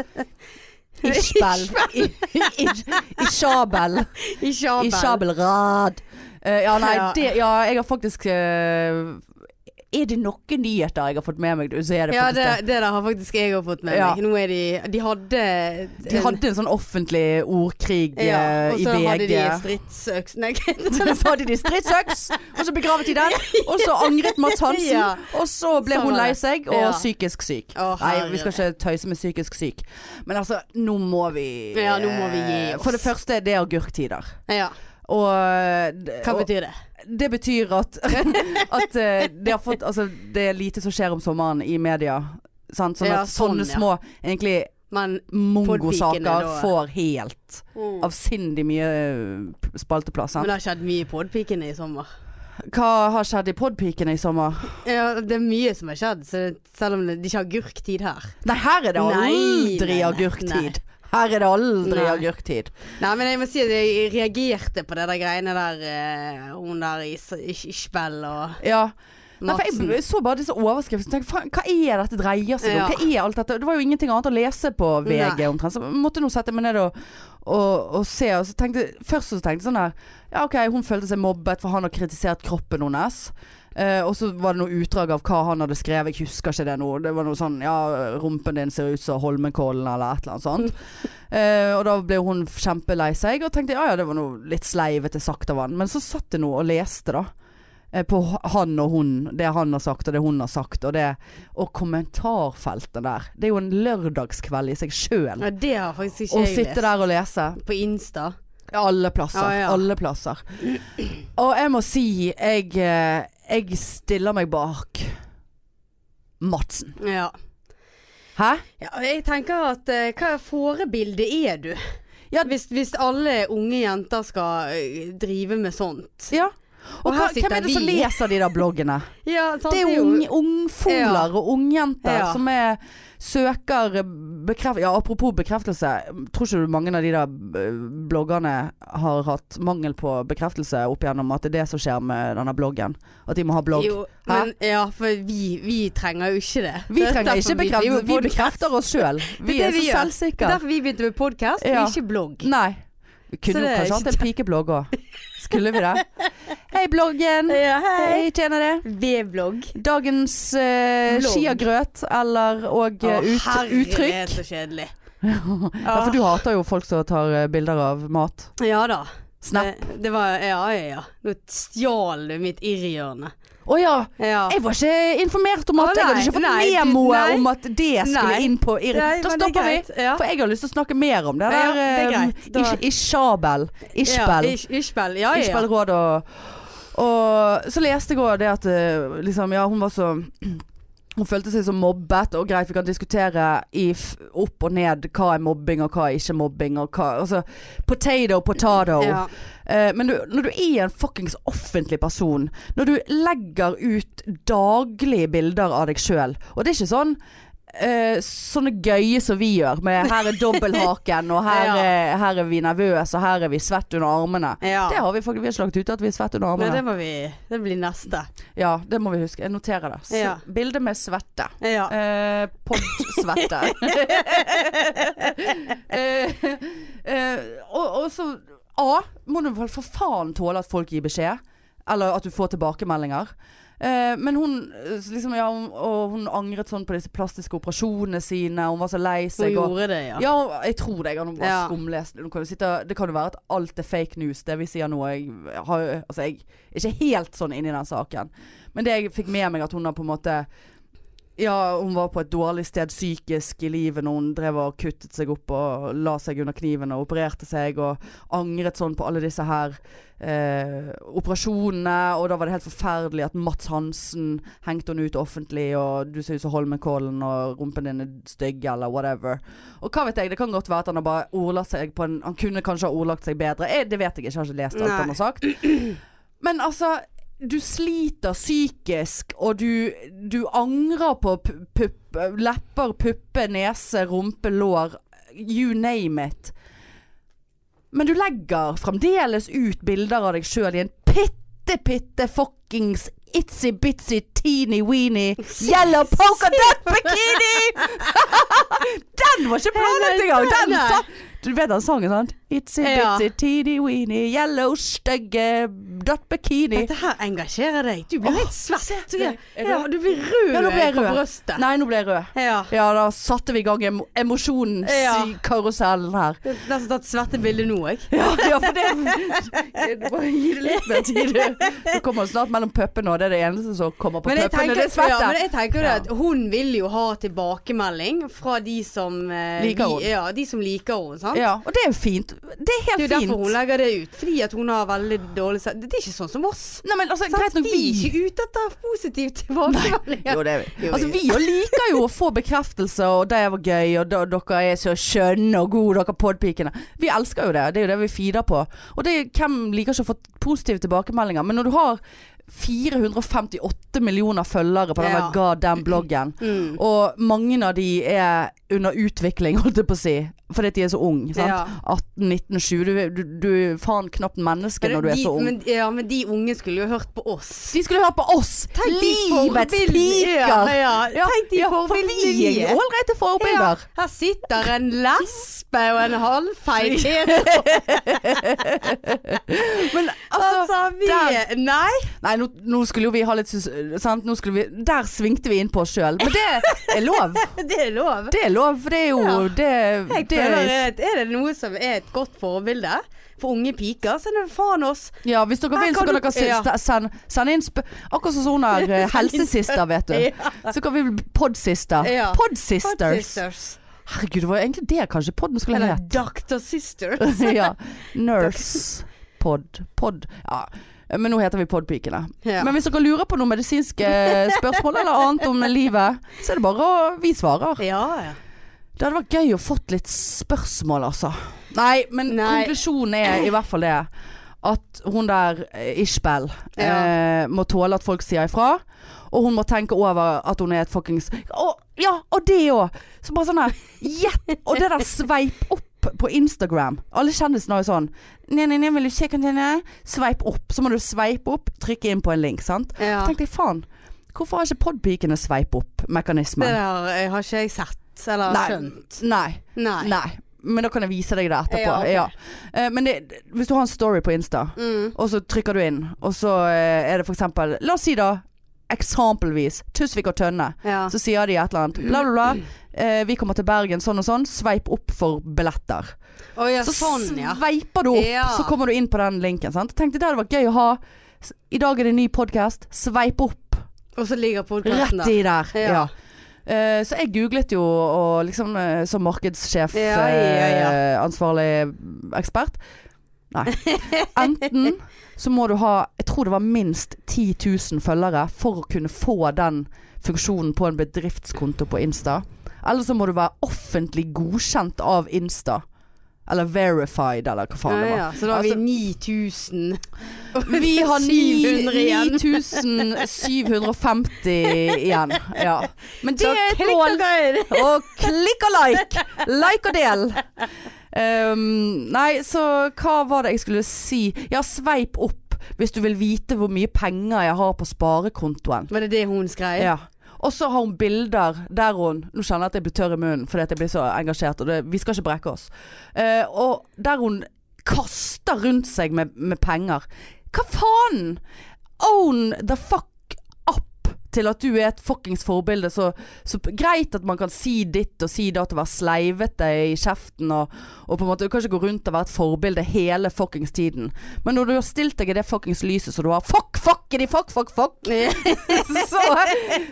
Speaker 2: eh,
Speaker 1: Ishbel. Ishabel.
Speaker 2: Isabel.
Speaker 1: Ishabel Rad. Eh, ja, nei,
Speaker 2: Ja.
Speaker 1: det Ja, jeg har faktisk eh, Er det noen nyheter jeg har fått med meg, du, så er det
Speaker 2: Ja,
Speaker 1: faktisk
Speaker 2: det,
Speaker 1: det.
Speaker 2: det der har faktisk jeg òg fått med
Speaker 1: Ja.
Speaker 2: meg. Nå er de De hadde
Speaker 1: De hadde en sånn offentlig ordkrig eh,
Speaker 2: ja,
Speaker 1: i VG.
Speaker 2: Og så hadde de stridsøks Nei,
Speaker 1: Så hadde de stridsøks, og så begravet de den. Og så angret Mads Hansen,
Speaker 2: Ja.
Speaker 1: og så ble
Speaker 2: Sånn
Speaker 1: hun
Speaker 2: var
Speaker 1: lei
Speaker 2: det.
Speaker 1: seg og
Speaker 2: Ja.
Speaker 1: psykisk syk.
Speaker 2: Å,
Speaker 1: Nei,
Speaker 2: herre.
Speaker 1: vi skal ikke tøyse med psykisk syk. Men altså, nå må vi
Speaker 2: Ja, nå må vi gi
Speaker 1: eh,
Speaker 2: oss.
Speaker 1: For det første, det er agurktider.
Speaker 2: ja.
Speaker 1: Og, eh,
Speaker 2: Hva
Speaker 1: og
Speaker 2: betyr det?
Speaker 1: det betyr at, at eh, det, har fått, altså, det er lite som skjer om sommeren i media. Sant? Sånn
Speaker 2: Ja,
Speaker 1: at sånne
Speaker 2: sånn, ja.
Speaker 1: små egentlig
Speaker 2: Men Podpikene
Speaker 1: mongosaker
Speaker 2: da.
Speaker 1: får helt avsindig mye eh, spalteplass.
Speaker 2: Men
Speaker 1: Sant?
Speaker 2: det har skjedd mye i podpikene i sommer.
Speaker 1: Hva har skjedd i podpikene i sommer?
Speaker 2: Ja, det er mye som har skjedd, så selv om det, det ikke har agurktid her.
Speaker 1: Nei, her er det
Speaker 2: Nei,
Speaker 1: aldri
Speaker 2: nei, nei,
Speaker 1: agurktid. Her er det aldri
Speaker 2: Nei.
Speaker 1: agurktid.
Speaker 2: Nei, men jeg må si at jeg reagerte på det der greiene der eh, Hun der Is Is Isbel og
Speaker 1: Ja. Nei, for
Speaker 2: Madsen.
Speaker 1: jeg så bare disse overskriftene. Tenkte, faen, hva er dette dreier seg om?
Speaker 2: Ja.
Speaker 1: Hva er alt dette? Det var jo ingenting annet å lese på VG
Speaker 2: Nei.
Speaker 1: omtrent. Så jeg måtte nå sette meg ned og, og, og se. Og så tenkte, først så tenkte jeg sånn her Ja, OK, hun følte seg mobbet for han har kritisert kroppen hennes. Eh, og så var det noe utdrag av hva han hadde skrevet. Jeg husker ikke det nå. Det var noe sånn Ja, rumpen din ser ut som Holmenkollen, eller et eller annet sånt. Eh, og da ble hun kjempelei seg og tenkte ja ja, det var noe litt sleivete sagt av han. Men så satt jeg nå og leste, da. eh, På h- han og hun, det han har sagt og det hun har sagt, og, det, og kommentarfeltet der. Det er jo en lørdagskveld i seg sjøl.
Speaker 2: Ja, det har faktisk
Speaker 1: Å
Speaker 2: ikke jeg
Speaker 1: sitte
Speaker 2: lest.
Speaker 1: der og lese.
Speaker 2: På Insta.
Speaker 1: Alle plasser.
Speaker 2: Ja, ja.
Speaker 1: Alle plasser. Og jeg må si, jeg, eh, jeg stiller meg bak Madsen.
Speaker 2: Ja.
Speaker 1: Hæ?
Speaker 2: ja og jeg tenker at eh, hva forbilde er du?
Speaker 1: Ja.
Speaker 2: Hvis, hvis alle unge jenter skal eh, drive med sånt.
Speaker 1: Ja. Og
Speaker 2: Og her
Speaker 1: hva, hvem
Speaker 2: sitter
Speaker 1: er det som
Speaker 2: vi.
Speaker 1: leser de der bloggene?
Speaker 2: Ja, sant,
Speaker 1: Det er jo ung- ungfoler og ungjenter
Speaker 2: Ja.
Speaker 1: som er, søker bekreftelse Ja, apropos bekreftelse. Tror ikke du mange av de der eh, bloggerne har hatt mangel på bekreftelse opp igjennom at det er det som skjer med denne bloggen? At de må ha blogg?
Speaker 2: Jo,
Speaker 1: Hæ?
Speaker 2: men ja, for vi, vi trenger jo ikke det.
Speaker 1: Vi
Speaker 2: Det er
Speaker 1: trenger
Speaker 2: derfor
Speaker 1: ikke
Speaker 2: driver
Speaker 1: bekreftelse. Vi
Speaker 2: podcast.
Speaker 1: bekrefter oss sjøl. Vi
Speaker 2: det
Speaker 1: er
Speaker 2: vi
Speaker 1: så
Speaker 2: gjør. Det er
Speaker 1: selvsikre.
Speaker 2: derfor vi begynte med podkast,
Speaker 1: Ja.
Speaker 2: ikke blogg.
Speaker 1: Nei. Vi
Speaker 2: Så
Speaker 1: kunne jo
Speaker 2: det er
Speaker 1: kanskje
Speaker 2: ikke
Speaker 1: hatt en pikeblogg òg. Skulle vi det? Hei, bloggen.
Speaker 2: Ja,
Speaker 1: Hei, tjener det.
Speaker 2: V-blogg.
Speaker 1: Dagens uh,
Speaker 2: Blogg.
Speaker 1: skiagrøt eller og eh, ut, uttrykk.
Speaker 2: så kjedelig.
Speaker 1: Ja, for du hater jo folk som tar eh, bilder av mat.
Speaker 2: Ja da.
Speaker 1: Snap.
Speaker 2: Det, det var Ja, ja, ja. Nå stjal du mitt irrhjørne.
Speaker 1: Å ja.
Speaker 2: Ja.
Speaker 1: Jeg var ikke informert om at
Speaker 2: Å,
Speaker 1: Jeg hadde
Speaker 2: nei,
Speaker 1: ikke fått
Speaker 2: nei, du-
Speaker 1: memoet
Speaker 2: nei.
Speaker 1: om at det skulle
Speaker 2: Nei.
Speaker 1: inn på IR. Da
Speaker 2: Nei, men det er
Speaker 1: stopper vi.
Speaker 2: greit, ja.
Speaker 1: For jeg har lyst til å snakke mer om det
Speaker 2: Ja,
Speaker 1: der.
Speaker 2: det er
Speaker 1: eh,
Speaker 2: greit. Da-
Speaker 1: ish- Ishabel. Ishbel.
Speaker 2: Ja, ish- Ishbel. Ja, ja, ja.
Speaker 1: Ishbel Råd og Og så leste jeg òg det at eh, liksom, ja, hun var så hun følte seg så mobbet, og greit, vi kan diskutere i f opp og ned hva er mobbing og hva er ikke mobbing, og hva Altså potato, potato.
Speaker 2: Ja.
Speaker 1: Eh, men du, når du er en fuckings offentlig person, når du legger ut daglige bilder av deg sjøl, og det er ikke sånn eh, sånne gøye som vi gjør, med her er dobbelthaken, og her,
Speaker 2: Ja.
Speaker 1: er, her er vi nervøse, og her er vi svett under armene.
Speaker 2: ja.
Speaker 1: Det har vi faktisk, vi har ikke lagt ut at vi er svett under
Speaker 2: Men
Speaker 1: armene.
Speaker 2: det må vi Det blir neste.
Speaker 1: ja, det må vi huske. Jeg noterer det. S
Speaker 2: Ja.
Speaker 1: Bilde med svette.
Speaker 2: Ja.
Speaker 1: Eh, Pod-svette. eh, eh, og, og så A. Må du vel for faen tåle at folk gir beskjed? Eller at du får tilbakemeldinger. Eh, men hun, eh, liksom, ja, hun, og hun angret sånn på disse plastiske operasjonene sine. Hun var så lei
Speaker 2: Hun
Speaker 1: seg. Og,
Speaker 2: gjorde det, ja.
Speaker 1: ja, jeg tror det. Jeg har nå bare
Speaker 2: Ja.
Speaker 1: skumlest. Nå kan du sitte, det kan jo være at alt er fake news, det vi sier nå. Jeg, har, altså jeg er ikke helt sånn inni den saken. Men det jeg fikk med meg, at hun har på en måte ja, hun var på et dårlig sted psykisk i livet når hun drev og kuttet seg opp og la seg under kniven og opererte seg og angret sånn på alle disse her eh, operasjonene. Og da var det helt forferdelig at Mats Hansen hengte hun ut offentlig, og du ser ut som Holmenkollen, og rumpen din er stygg, eller whatever. Og hva vet jeg, det kan godt være at han har bare ordlagt seg på en Han kunne kanskje ha ordlagt seg bedre. Jeg, det vet jeg ikke, jeg har ikke lest alt
Speaker 2: Nei.
Speaker 1: han har sagt. Men altså, du sliter psykisk, og du, du angrer på pu- pupp, lepper, puppe, nese, rumpe, lår. You name it. Men du legger fremdeles ut bilder av deg sjøl i en pitte, pitte fuckings itsy bitsy teeny weeny yellow poker duck bikini! Den var ikke planlagt engang! Den
Speaker 2: Nei.
Speaker 1: sa Du vet den sangen, sant? Itsy
Speaker 2: Ja.
Speaker 1: bitsy teeny weeny yellow stygge duck bikini.
Speaker 2: Dette her engasjerer deg. Du blir
Speaker 1: Åh,
Speaker 2: helt svett.
Speaker 1: se, er du-
Speaker 2: Ja, du blir rød
Speaker 1: Ja, nå ble jeg
Speaker 2: på
Speaker 1: rød.
Speaker 2: brøstet.
Speaker 1: Nei, nå ble jeg rød.
Speaker 2: Ja.
Speaker 1: Ja, da satte vi i gang emo
Speaker 2: Ja.
Speaker 1: emosjonskarusellen her.
Speaker 2: Jeg har nesten tatt svettebilde nå, jeg.
Speaker 1: Ja, ja, for det Du må gi det litt mer tid. du. Du kommer snart mellom puppene, og det er det eneste som kommer på
Speaker 2: Men jeg
Speaker 1: puppene.
Speaker 2: tenker,
Speaker 1: Det er svette.
Speaker 2: Ja, men jeg tenker jo det at hun vil jo ha tilbakemelding fra de som eh,
Speaker 1: Liker
Speaker 2: vi-
Speaker 1: hun.
Speaker 2: Ja, de som liker henne. sant?
Speaker 1: Ja, og det er jo fint. Det er
Speaker 2: Det
Speaker 1: helt
Speaker 2: er jo derfor hun
Speaker 1: fint.
Speaker 2: legger det ut. Fordi at hun har veldig dårlig se- Det er ikke sånn som oss.
Speaker 1: Nei, men altså,
Speaker 2: sant?
Speaker 1: greit når
Speaker 2: vi
Speaker 1: vi
Speaker 2: er ikke ute etter positiv tilbakemelding.
Speaker 1: Jo, det er vi.
Speaker 2: Jo,
Speaker 1: Altså,
Speaker 2: jo.
Speaker 1: vi jo liker jo å få bekreftelse, og det var gøy, og da, dere er så skjønne og gode, dere podpikene. Vi elsker jo det. Det er jo det vi feeder på. Og det, hvem liker ikke å få positive tilbakemeldinger? Men når du har 458 millioner følgere på den
Speaker 2: Ja.
Speaker 1: der god damn bloggen,
Speaker 2: Mm.
Speaker 1: og mange av de er under utvikling, holdt jeg på å si, fordi at de er så unge, sant?
Speaker 2: Ja.
Speaker 1: 18, 19, 20. Du, er- du, du er faen knapt menneske når du er
Speaker 2: de,
Speaker 1: så ung.
Speaker 2: Men, ja, men de unge skulle jo hørt på oss.
Speaker 1: de skulle hørt på oss!
Speaker 2: Tenk de
Speaker 1: Livets
Speaker 2: forbildene-
Speaker 1: piker!
Speaker 2: Ja, ja.
Speaker 1: Ja,
Speaker 2: Tenk de
Speaker 1: ja,
Speaker 2: forbildene
Speaker 1: for vi er
Speaker 2: vi
Speaker 1: jo
Speaker 2: er.
Speaker 1: ålreite forbilder.
Speaker 2: Her sitter en lesbe og en halvfeit
Speaker 1: Men altså
Speaker 2: Altså, vi
Speaker 1: der-
Speaker 2: Nei.
Speaker 1: Nei, nå, nå skulle jo vi ha litt sus- sant? Nå skulle vi, Der svingte vi inn på oss sjøl. Men det er lov.
Speaker 2: Det er lov.
Speaker 1: Det er lov, for det er jo
Speaker 2: Ja.
Speaker 1: det,
Speaker 2: Jeg
Speaker 1: det
Speaker 2: føler at Er det noe som er et godt forbilde for unge piker, så er det faen oss.
Speaker 1: Ja, hvis dere
Speaker 2: Her
Speaker 1: vil, så
Speaker 2: kan
Speaker 1: kan
Speaker 2: du-
Speaker 1: dere se-
Speaker 2: ja.
Speaker 1: sta- send, sende inn sp Akkurat som sånn her eh, helsesister, vet du.
Speaker 2: Ja.
Speaker 1: Så kan vi bli podsister.
Speaker 2: Ja.
Speaker 1: Podsisters.
Speaker 2: Sisters.
Speaker 1: Herregud, det var jo egentlig det kanskje podden skulle
Speaker 2: Eller
Speaker 1: hett.
Speaker 2: Doctor Sister.
Speaker 1: ja. Nurse. Pod. Pod. Ja. Men nå heter vi Podpikene.
Speaker 2: Ja.
Speaker 1: Men hvis dere lurer på noen medisinske spørsmål eller annet om livet, så er det bare å Vi svarer.
Speaker 2: Ja, ja.
Speaker 1: Det hadde vært gøy å fått litt spørsmål, altså. Nei, men
Speaker 2: Nei.
Speaker 1: konklusjonen er i hvert fall det. At hun der, eh, Ishbel, eh, må tåle at folk sier ifra. Og hun må tenke over at hun er et fuckings Å, Ja, og det òg! Så bare sånn her Gjett! Og det der sveip opp på Instagram. Alle kjendisene har jo sånn Nei, nei, nei, vil du se kantine? Sveip opp. Så må du sveipe opp, trykke inn på en link, sant.
Speaker 2: ja.
Speaker 1: Tenkte jeg, faen. Hvorfor har ikke podpikene sveip
Speaker 2: Det
Speaker 1: opp-mekanismen?
Speaker 2: der eh, har ikke jeg sett eller
Speaker 1: Nei.
Speaker 2: skjønt.
Speaker 1: Nei.
Speaker 2: Nei.
Speaker 1: Nei. Men da kan jeg vise deg det etterpå.
Speaker 2: Ja,
Speaker 1: Ja,
Speaker 2: ok.
Speaker 1: Eh, Men det, hvis du har en story på Insta,
Speaker 2: Mm.
Speaker 1: og så trykker du inn, og så eh, er det for eksempel La oss si da eksempelvis Tusvik og Tønne,
Speaker 2: Ja.
Speaker 1: så sier de et eller annet bla, bla, bla. Eh, vi kommer til Bergen sånn og sånn, sveip opp for billetter.
Speaker 2: Å ja,
Speaker 1: Så
Speaker 2: sånn, ja.
Speaker 1: sveiper du opp,
Speaker 2: Ja.
Speaker 1: så kommer du inn på den linken. Sant? Tenkte det hadde vært gøy å ha. S- I dag er det en ny podkast. Sveip opp.
Speaker 2: Og så ligger podkasten
Speaker 1: Rett
Speaker 2: der.
Speaker 1: i der.
Speaker 2: Ja.
Speaker 1: Ja. Eh, så jeg googlet jo, og liksom eh, som markedssjef,
Speaker 2: Ja, ja, ja.
Speaker 1: eh, ansvarlig ekspert Nei. Enten så må du ha Jeg tror det var minst 10 000 følgere for å kunne få den funksjonen på en bedriftskonto på Insta. Eller så må du være offentlig godkjent av Insta. Eller verified, eller hva faen
Speaker 2: Ja,
Speaker 1: det var.
Speaker 2: ja. Så da har
Speaker 1: Altså-
Speaker 2: vi 9000.
Speaker 1: Vi har
Speaker 2: 700 igjen.
Speaker 1: 9750 igjen. Ja. Men det
Speaker 2: Så
Speaker 1: er et
Speaker 2: klikk
Speaker 1: mål.
Speaker 2: dere!
Speaker 1: Og klikk og like! Like og del. Ehm, nei, så hva var det jeg skulle si? Ja, sveip opp hvis du vil vite hvor mye penger jeg har på sparekontoen.
Speaker 2: Var det det hun skrev?
Speaker 1: Ja. Og så har hun bilder der hun Nå kjenner jeg at jeg blir tørr i munnen fordi at jeg blir så engasjert, og det, vi skal ikke brekke oss. Eh, og der hun kaster rundt seg med, med penger. Hva faen? Own the fuck up til at du er et fuckings forbilde. Så, så p- greit at man kan si ditt og si datt og være sleivete i kjeften og, og på en måte Du kan ikke gå rundt og være et forbilde hele fuckings tiden. Men når du har stilt deg i det fuckings lyset så du har fuck, fuckity, fuck, fuck, fuck så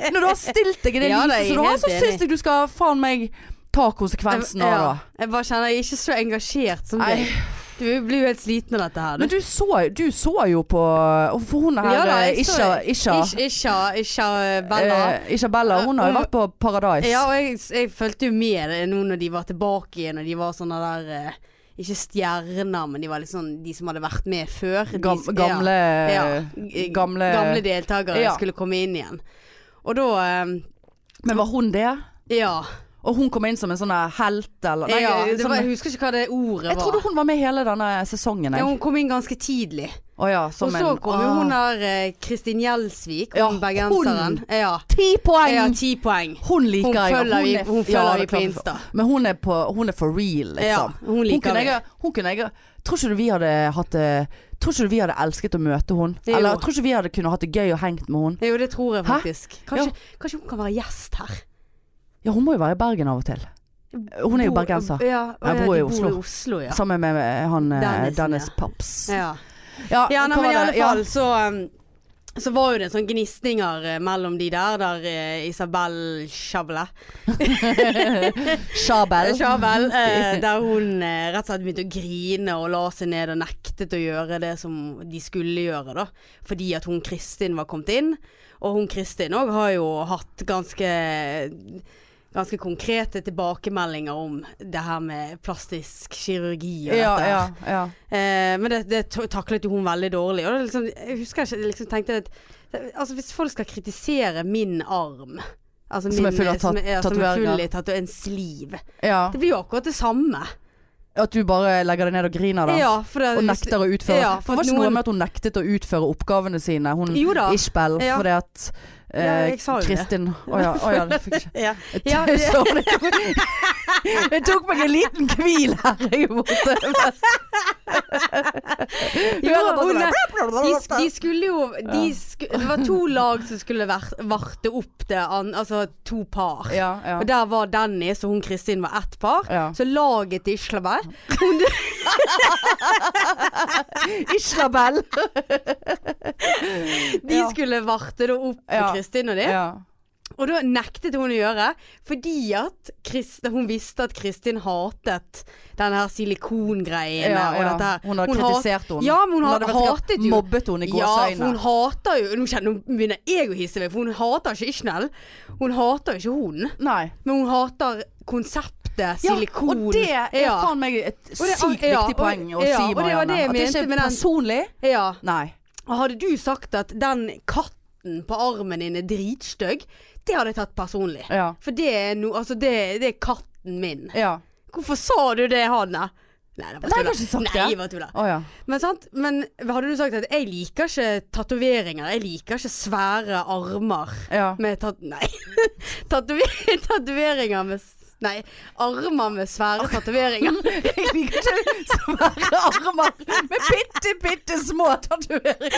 Speaker 1: når du har stilt deg i det
Speaker 2: Ja, det
Speaker 1: lyset
Speaker 2: er jeg
Speaker 1: som du har,
Speaker 2: helt
Speaker 1: så syns
Speaker 2: enig.
Speaker 1: jeg du skal faen meg ta konsekvensen av det.
Speaker 2: Jeg bare kjenner jeg er ikke så engasjert som
Speaker 1: Nei.
Speaker 2: deg. Du blir jo helt sliten av dette her.
Speaker 1: Men du så, du så jo på og For hun her, eh,
Speaker 2: Ja, da, jeg så-
Speaker 1: Isha, Isha,
Speaker 2: Ikke, ikke, ikke Bella.
Speaker 1: eh, Isabella, hun har jo
Speaker 2: Hun-
Speaker 1: vært på Paradise.
Speaker 2: Ja, og jeg, jeg fulgte jo med det nå når de var tilbake igjen, og de var sånne der eh, Ikke stjerner, men de var litt sånn de som hadde vært med før. De
Speaker 1: Gam,
Speaker 2: som-
Speaker 1: gamle eh,
Speaker 2: ja, ja,
Speaker 1: gamle,
Speaker 2: gamle deltakere
Speaker 1: Ja.
Speaker 2: skulle komme inn igjen. Og da eh,
Speaker 1: Men var hun det?
Speaker 2: Ja.
Speaker 1: Og hun kom inn som en sånn her helt eller nei,
Speaker 2: ja det
Speaker 1: sånn,
Speaker 2: var, jeg husker ikke hva det ordet
Speaker 1: Jeg
Speaker 2: var.
Speaker 1: trodde hun var med hele denne sesongen.
Speaker 2: ja,
Speaker 1: Jeg.
Speaker 2: hun kom inn ganske tidlig.
Speaker 1: Å ja, som
Speaker 2: og så
Speaker 1: en-
Speaker 2: kom jo
Speaker 1: ah.
Speaker 2: hun der eh, Kristin Gjelsvik,
Speaker 1: Ja,
Speaker 2: hun bergenseren.
Speaker 1: hun.
Speaker 2: Ja.
Speaker 1: Ti poeng!
Speaker 2: ja, ti poeng.
Speaker 1: Hun liker
Speaker 2: Hun
Speaker 1: jeg. og
Speaker 2: følger vi-
Speaker 1: er-
Speaker 2: hun følger vi
Speaker 1: det er
Speaker 2: på
Speaker 1: klart.
Speaker 2: Insta.
Speaker 1: Men hun er, på, hun er for real, liksom.
Speaker 2: Ja, hun liker
Speaker 1: kunne
Speaker 2: vi.
Speaker 1: jeg, hun kunne jeg, tror ikke du vi hadde hatt det Tror ikke du vi hadde elsket å møte hun
Speaker 2: Jo.
Speaker 1: Eller tror ikke vi hadde kunnet hatt det gøy og hengt med hun
Speaker 2: Jo, det tror jeg
Speaker 1: Hæ?
Speaker 2: faktisk. Kanskje, kanskje hun kan være gjest her.
Speaker 1: Ja, hun må jo være i Bergen av og til. Hun er jo
Speaker 2: Bor-
Speaker 1: bergenser.
Speaker 2: Ja, og
Speaker 1: Jeg
Speaker 2: ja,
Speaker 1: bor
Speaker 2: de
Speaker 1: i Oslo.
Speaker 2: bor i Oslo ja.
Speaker 1: Sammen med eh, han eh,
Speaker 2: Dennis,
Speaker 1: Dennis,
Speaker 2: ja.
Speaker 1: Paps.
Speaker 2: Ja,
Speaker 1: Ja,
Speaker 2: ja nei,
Speaker 1: hva
Speaker 2: men i
Speaker 1: var
Speaker 2: alle
Speaker 1: det? Ja.
Speaker 2: fall så um, så var jo det sånn gnisninger eh, mellom de der, der eh, Isabel Chabla
Speaker 1: Shabel.
Speaker 2: Chabel, eh, der hun eh, rett og slett begynte å grine og la seg ned og nektet å gjøre det som de skulle gjøre, da. Fordi at hun Kristin var kommet inn. Og hun Kristin òg har jo hatt ganske Ganske konkrete tilbakemeldinger om det her med plastisk kirurgi og
Speaker 1: Ja,
Speaker 2: dette. her.
Speaker 1: ja, ja.
Speaker 2: Eh, men det, det to- taklet jo hun veldig dårlig. Og det er liksom, jeg husker ikke, jeg liksom tenkte at det- Altså hvis folk skal kritisere min arm altså
Speaker 1: Som er full av
Speaker 2: som
Speaker 1: tat-
Speaker 2: ja, som er full
Speaker 1: tatoveringer.
Speaker 2: i tato- En sliv.
Speaker 1: ja.
Speaker 2: Det blir jo akkurat det samme.
Speaker 1: At du bare legger deg ned og griner, da.
Speaker 2: Ja, for det,
Speaker 1: Og nekter å utføre
Speaker 2: Ja,
Speaker 1: for
Speaker 2: for
Speaker 1: Det var ikke noe
Speaker 2: noen-
Speaker 1: med at hun nektet å utføre oppgavene sine Hun
Speaker 2: Jo da.
Speaker 1: Ishbel
Speaker 2: Ja.
Speaker 1: Fordi at eh,
Speaker 2: Ja, jeg sa jo det.
Speaker 1: Kristin Åja, åja det fikk ikke
Speaker 2: Ja. Ja,
Speaker 1: Jeg tok- det tok, det tok meg en liten kvil her Jeg måtte
Speaker 2: Jo, hun er- De,
Speaker 1: de,
Speaker 2: de skulle jo de sku, Det var to lag som skulle vert- varte opp det an, Altså to par.
Speaker 1: Ja, ja
Speaker 2: Og der var Dennis og hun Kristin var ett par.
Speaker 1: Ja.
Speaker 2: Så laget til Islabær
Speaker 1: Islabel
Speaker 2: De
Speaker 1: Ja.
Speaker 2: skulle varte da opp på
Speaker 1: Ja.
Speaker 2: Kristin og det.
Speaker 1: ja.
Speaker 2: Og da nektet hun å gjøre, fordi at Krist, hun visste at Kristin hatet den her silikongreiene
Speaker 1: Ja,
Speaker 2: og
Speaker 1: ja.
Speaker 2: dette her.
Speaker 1: Hun hadde kritisert
Speaker 2: hat-
Speaker 1: henne.
Speaker 2: Ja, men hun,
Speaker 1: Hun
Speaker 2: hadde
Speaker 1: hadde sikkert
Speaker 2: hatet jo.
Speaker 1: mobbet henne i
Speaker 2: Ja,
Speaker 1: gåseøyne.
Speaker 2: for hun hater jo Nå kjenner nå begynner jeg å hisse meg, for hun hater ikke Ishnell. Hun hater ikke hun,
Speaker 1: Nei
Speaker 2: men hun hater konseptet silikon.
Speaker 1: Og det er
Speaker 2: Ja.
Speaker 1: faen meg et
Speaker 2: det er-
Speaker 1: sykt
Speaker 2: ja,
Speaker 1: viktig
Speaker 2: og-
Speaker 1: poeng å
Speaker 2: ja,
Speaker 1: si
Speaker 2: og det var
Speaker 1: Marianne
Speaker 2: det jeg
Speaker 1: At det
Speaker 2: mente
Speaker 1: ikke
Speaker 2: med
Speaker 1: er
Speaker 2: den-
Speaker 1: personlig
Speaker 2: ja.
Speaker 1: Nei
Speaker 2: Hadde du sagt at den katten på armen din er dritstygg, det hadde jeg tatt personlig.
Speaker 1: Ja,
Speaker 2: For det er, no, altså det, det er katten min.
Speaker 1: ja
Speaker 2: Hvorfor sa du det, Hanne? Nei, det
Speaker 1: Nei, jeg har ikke sagt
Speaker 2: Nei,
Speaker 1: det.
Speaker 2: bare tulla.
Speaker 1: Åja
Speaker 2: Men sant, men hadde du sagt at jeg liker ikke tatoveringer, jeg liker ikke svære armer
Speaker 1: Ja.
Speaker 2: med tat... Nei. Tatover- Tatoveringer med s- Nei, armer med svære tatoveringer.
Speaker 1: Jeg liker ikke svære armer med bitte, bitte små tatoveringer.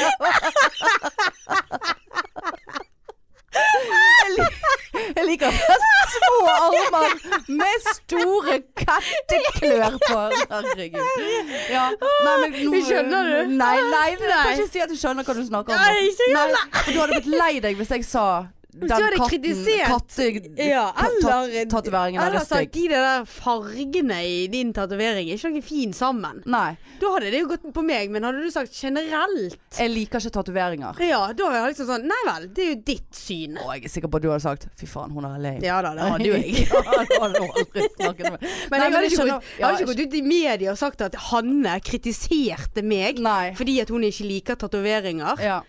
Speaker 2: herregud.
Speaker 1: Ja. Nei, men nå
Speaker 2: Skjønner du?
Speaker 1: Nei, nei, du
Speaker 2: Nei.
Speaker 1: kan ikke si at du skjønner hva du snakker om.
Speaker 2: Nei, ikke
Speaker 1: Nei, for du hadde blitt lei deg hvis jeg sa den
Speaker 2: du hadde
Speaker 1: katten
Speaker 2: kritisert- Ja, eller
Speaker 1: Kattetattiveringen
Speaker 2: Eller
Speaker 1: er
Speaker 2: sagt
Speaker 1: stygg.
Speaker 2: de der fargene i din tatovering er ikke noe fin sammen.
Speaker 1: Nei.
Speaker 2: Da hadde det jo gått på meg, men hadde du sagt generelt
Speaker 1: Jeg liker ikke tatoveringer.
Speaker 2: Ja, da er jeg liksom sånn Nei vel, det er jo ditt syn.
Speaker 1: Og jeg er sikker på at du hadde sagt 'fy faen, hun er lame'.
Speaker 2: Ja da, det hadde jo jeg.
Speaker 1: ja, det hadde du aldri snakket med.
Speaker 2: Men
Speaker 1: Nei,
Speaker 2: jeg hadde
Speaker 1: jeg
Speaker 2: ikke,
Speaker 1: skjønner-
Speaker 2: gått, jeg
Speaker 1: ja,
Speaker 2: hadde ikke gått ut i media og sagt at Hanne kritiserte meg
Speaker 1: Nei.
Speaker 2: fordi at hun ikke liker tatoveringer.
Speaker 1: Ja.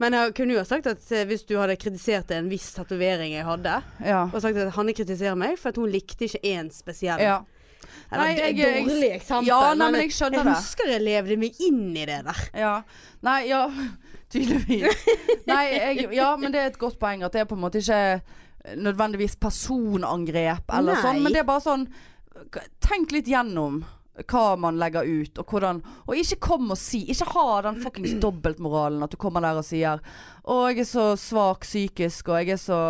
Speaker 2: Men jeg kunne jo ha sagt at eh, hvis du hadde kritisert en viss tatovering jeg hadde,
Speaker 1: ja.
Speaker 2: og sagt at Hanne kritiserer meg for at hun likte ikke én spesiell.
Speaker 1: ja.
Speaker 2: Eller,
Speaker 1: Nei,
Speaker 2: det er
Speaker 1: jeg- jeg-
Speaker 2: dårlig eksempel.
Speaker 1: Ja, nei, men jeg skjønner det.
Speaker 2: Jeg husker jeg levde meg inn i det der.
Speaker 1: Ja. Nei, ja. Tydeligvis. Nei, jeg, ja, men det er et godt poeng at det er på en måte ikke nødvendigvis personangrep eller
Speaker 2: Nei.
Speaker 1: sånn, men det er bare sånn k- Tenk litt gjennom hva man legger ut, og hvordan Og ikke kom og si Ikke ha den fuckings dobbeltmoralen at du kommer der og sier 'Å, jeg er så svak psykisk, og jeg er så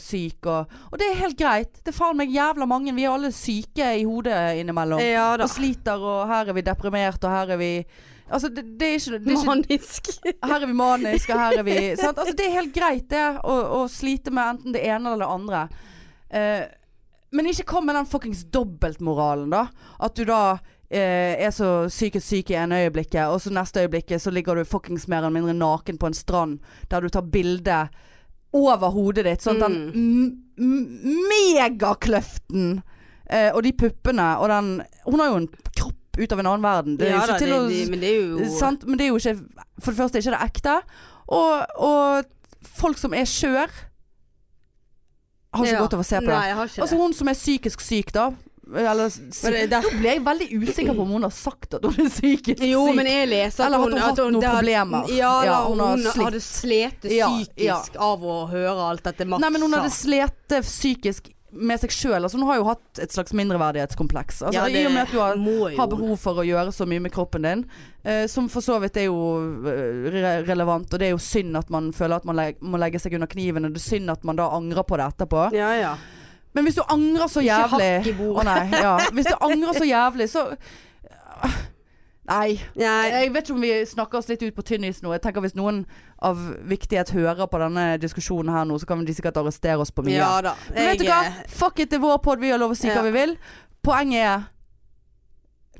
Speaker 1: syk', og Og det er helt greit. Det er faen meg jævla mange. Vi er alle syke i hodet innimellom.
Speaker 2: Ja
Speaker 1: Og sliter, og her er vi deprimert, og her er vi Altså, det, det er ikke, det er ikke
Speaker 2: Manisk.
Speaker 1: Her er vi maniske, og her er vi sant? Altså, det er helt greit, det, å, å slite med enten det ene eller det andre. Eh, men ikke kom med den fuckings dobbeltmoralen, da. At du da eh, er så psykisk syk i ene øyeblikket, og så neste øyeblikket så ligger du fuckings mer eller mindre naken på en strand der du tar bilde over hodet ditt. Sånn at den
Speaker 2: Mm.
Speaker 1: m- m- megakløften eh, og de puppene og den Hun har jo en kropp ut av en annen verden. Det er jo
Speaker 2: Ja
Speaker 1: ikke
Speaker 2: da,
Speaker 1: til
Speaker 2: det,
Speaker 1: å
Speaker 2: det, men det er jo
Speaker 1: Sant? Men det er jo ikke For det første er ikke det ekte. Og, og folk som er skjør, har ikke
Speaker 2: Ja.
Speaker 1: godt av å se på
Speaker 2: Nei,
Speaker 1: det.
Speaker 2: jeg har ikke
Speaker 1: Altså
Speaker 2: det.
Speaker 1: hun som er psykisk syk, da. Eller
Speaker 2: Men
Speaker 1: sy
Speaker 2: det- det-
Speaker 1: Nå ble jeg veldig usikker på om hun har sagt at hun er psykisk
Speaker 2: Jo,
Speaker 1: syk.
Speaker 2: men jeg leser
Speaker 1: Eller at hun hatt noen
Speaker 2: det har-
Speaker 1: problemer.
Speaker 2: Ja, da,
Speaker 1: Ja, hun
Speaker 2: hun,
Speaker 1: har slitt.
Speaker 2: hadde slitt
Speaker 1: Ja,
Speaker 2: psykisk
Speaker 1: ja.
Speaker 2: av å høre alt dette Mats
Speaker 1: Nei, men hun hadde
Speaker 2: sa.
Speaker 1: slitt psykisk med seg sjøl. Altså, hun har jo hatt et slags mindreverdighetskompleks. Altså,
Speaker 2: Ja,
Speaker 1: I og med at du har
Speaker 2: må jo.
Speaker 1: har behov for å gjøre så mye med kroppen din. Eh, som for så vidt er jo eh, re relevant, og det er jo synd at man føler at man leg må legge seg under kniven, og det er synd at man da angrer på det etterpå.
Speaker 2: Ja, ja.
Speaker 1: Men hvis du angrer så
Speaker 2: Ikke hakk
Speaker 1: jævlig
Speaker 2: i bordet.
Speaker 1: Å nei, ja. Hvis du angrer så jævlig, så Nei.
Speaker 2: Nei,
Speaker 1: Jeg vet ikke om vi snakker oss litt ut på tynn is nå. Jeg tenker Hvis noen av viktighet hører på denne diskusjonen her nå, så kan de sikkert arrestere oss på mye.
Speaker 2: ja da.
Speaker 1: Men vet du hva?
Speaker 2: Jeg- eh,
Speaker 1: Fuck it, det er vår pod, vi har lov å si
Speaker 2: Ja.
Speaker 1: hva vi vil. Poenget er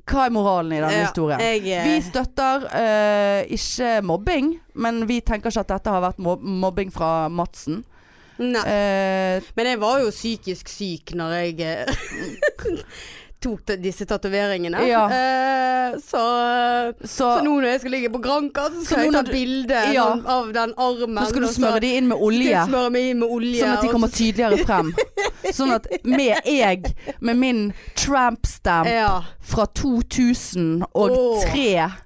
Speaker 1: Hva er moralen i denne
Speaker 2: ja,
Speaker 1: historien?
Speaker 2: Jeg, eh,
Speaker 1: Vi støtter eh, ikke mobbing, men vi tenker ikke at dette har vært mob mobbing fra Madsen.
Speaker 2: Nei.
Speaker 1: Eh,
Speaker 2: Men jeg var jo psykisk syk når jeg eh, tok de- disse tatoveringene.
Speaker 1: Ja.
Speaker 2: Eh, så,
Speaker 1: så
Speaker 2: så nå når jeg skal ligge på Granka, så
Speaker 1: Så
Speaker 2: skal
Speaker 1: nå
Speaker 2: jeg ta
Speaker 1: når du-
Speaker 2: bilde
Speaker 1: Ja.
Speaker 2: sånn av den armen.
Speaker 1: nå skal du
Speaker 2: og så
Speaker 1: smøre de inn med
Speaker 2: skal
Speaker 1: olje,
Speaker 2: jeg smøre meg inn med olje.
Speaker 1: sånn at de
Speaker 2: og
Speaker 1: kommer
Speaker 2: så-
Speaker 1: tydeligere frem. Sånn at med jeg, med min tramp stamp
Speaker 2: Ja.
Speaker 1: fra 2003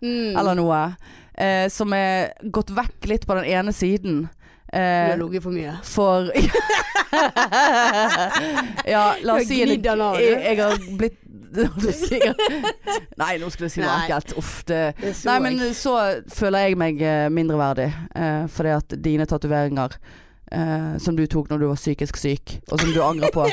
Speaker 2: Mm.
Speaker 1: eller noe, eh, som er gått vekk litt på den ene siden.
Speaker 2: Du
Speaker 1: Eh,
Speaker 2: har ligget for mye.
Speaker 1: for Ja, la oss
Speaker 2: Du
Speaker 1: si
Speaker 2: har
Speaker 1: det.
Speaker 2: gnidd den av, du.
Speaker 1: Jeg, jeg har blitt Nei, nå skulle jeg si noe
Speaker 2: Nei.
Speaker 1: ekkelt. Uff, det
Speaker 2: Det så
Speaker 1: Nei,
Speaker 2: jeg.
Speaker 1: men så føler jeg meg eh, mindreverdig. Eh, fordi at dine tatoveringer eh, som du tok når du var psykisk syk, og som du angrer på,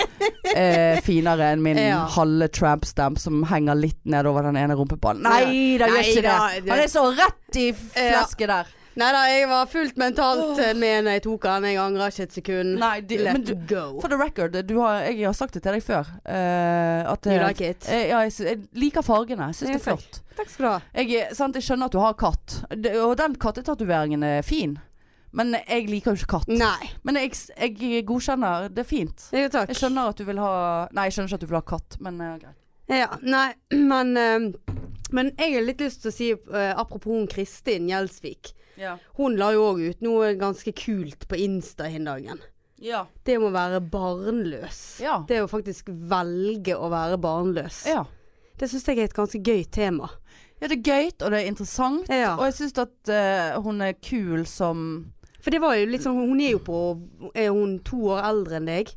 Speaker 1: er finere enn min
Speaker 2: Ja.
Speaker 1: halve tramp stamp som henger litt nedover den ene rumpeballen. Nei da, gjør
Speaker 2: Nei
Speaker 1: ikke det.
Speaker 2: da, det-
Speaker 1: Han er så rett i flasket der.
Speaker 2: Nei da, jeg var fullt mentalt eh, med når jeg tok den. Jeg angrer ikke et sekund.
Speaker 1: Nei, de, men
Speaker 2: Let
Speaker 1: du,
Speaker 2: go.
Speaker 1: for the record, du har, jeg har sagt det til deg før. eh, at,
Speaker 2: You like it?
Speaker 1: Eh, ja, jeg, sy- jeg liker fargene. Jeg syns
Speaker 2: Ja,
Speaker 1: det er
Speaker 2: takk.
Speaker 1: flott.
Speaker 2: Takk skal du ha.
Speaker 1: Jeg, er- sant, jeg skjønner at du har katt, det, og den kattetatoveringen er fin. Men jeg liker jo ikke katt.
Speaker 2: Nei.
Speaker 1: Men jeg, s- jeg eh, godkjenner. Det er fint.
Speaker 2: Jo, takk.
Speaker 1: Jeg skjønner at du vil ha Nei, jeg skjønner ikke at du vil ha katt, men eh, greit.
Speaker 2: Ja, nei, men, eh, men jeg har litt lyst til å si, eh, apropos hun Kristin Gjelsvik
Speaker 1: Ja.
Speaker 2: Hun la jo òg ut noe ganske kult på Insta den dagen.
Speaker 1: Ja.
Speaker 2: Det med å være barnløs.
Speaker 1: Ja.
Speaker 2: Det å faktisk velge å være barnløs.
Speaker 1: ja.
Speaker 2: Det syns jeg er et ganske gøy tema.
Speaker 1: det er gøy, og det er interessant.
Speaker 2: Ja.
Speaker 1: Og jeg syns at eh, hun er kul som
Speaker 2: For det var jo litt sånn Hun er jo på Er hun to år eldre enn deg?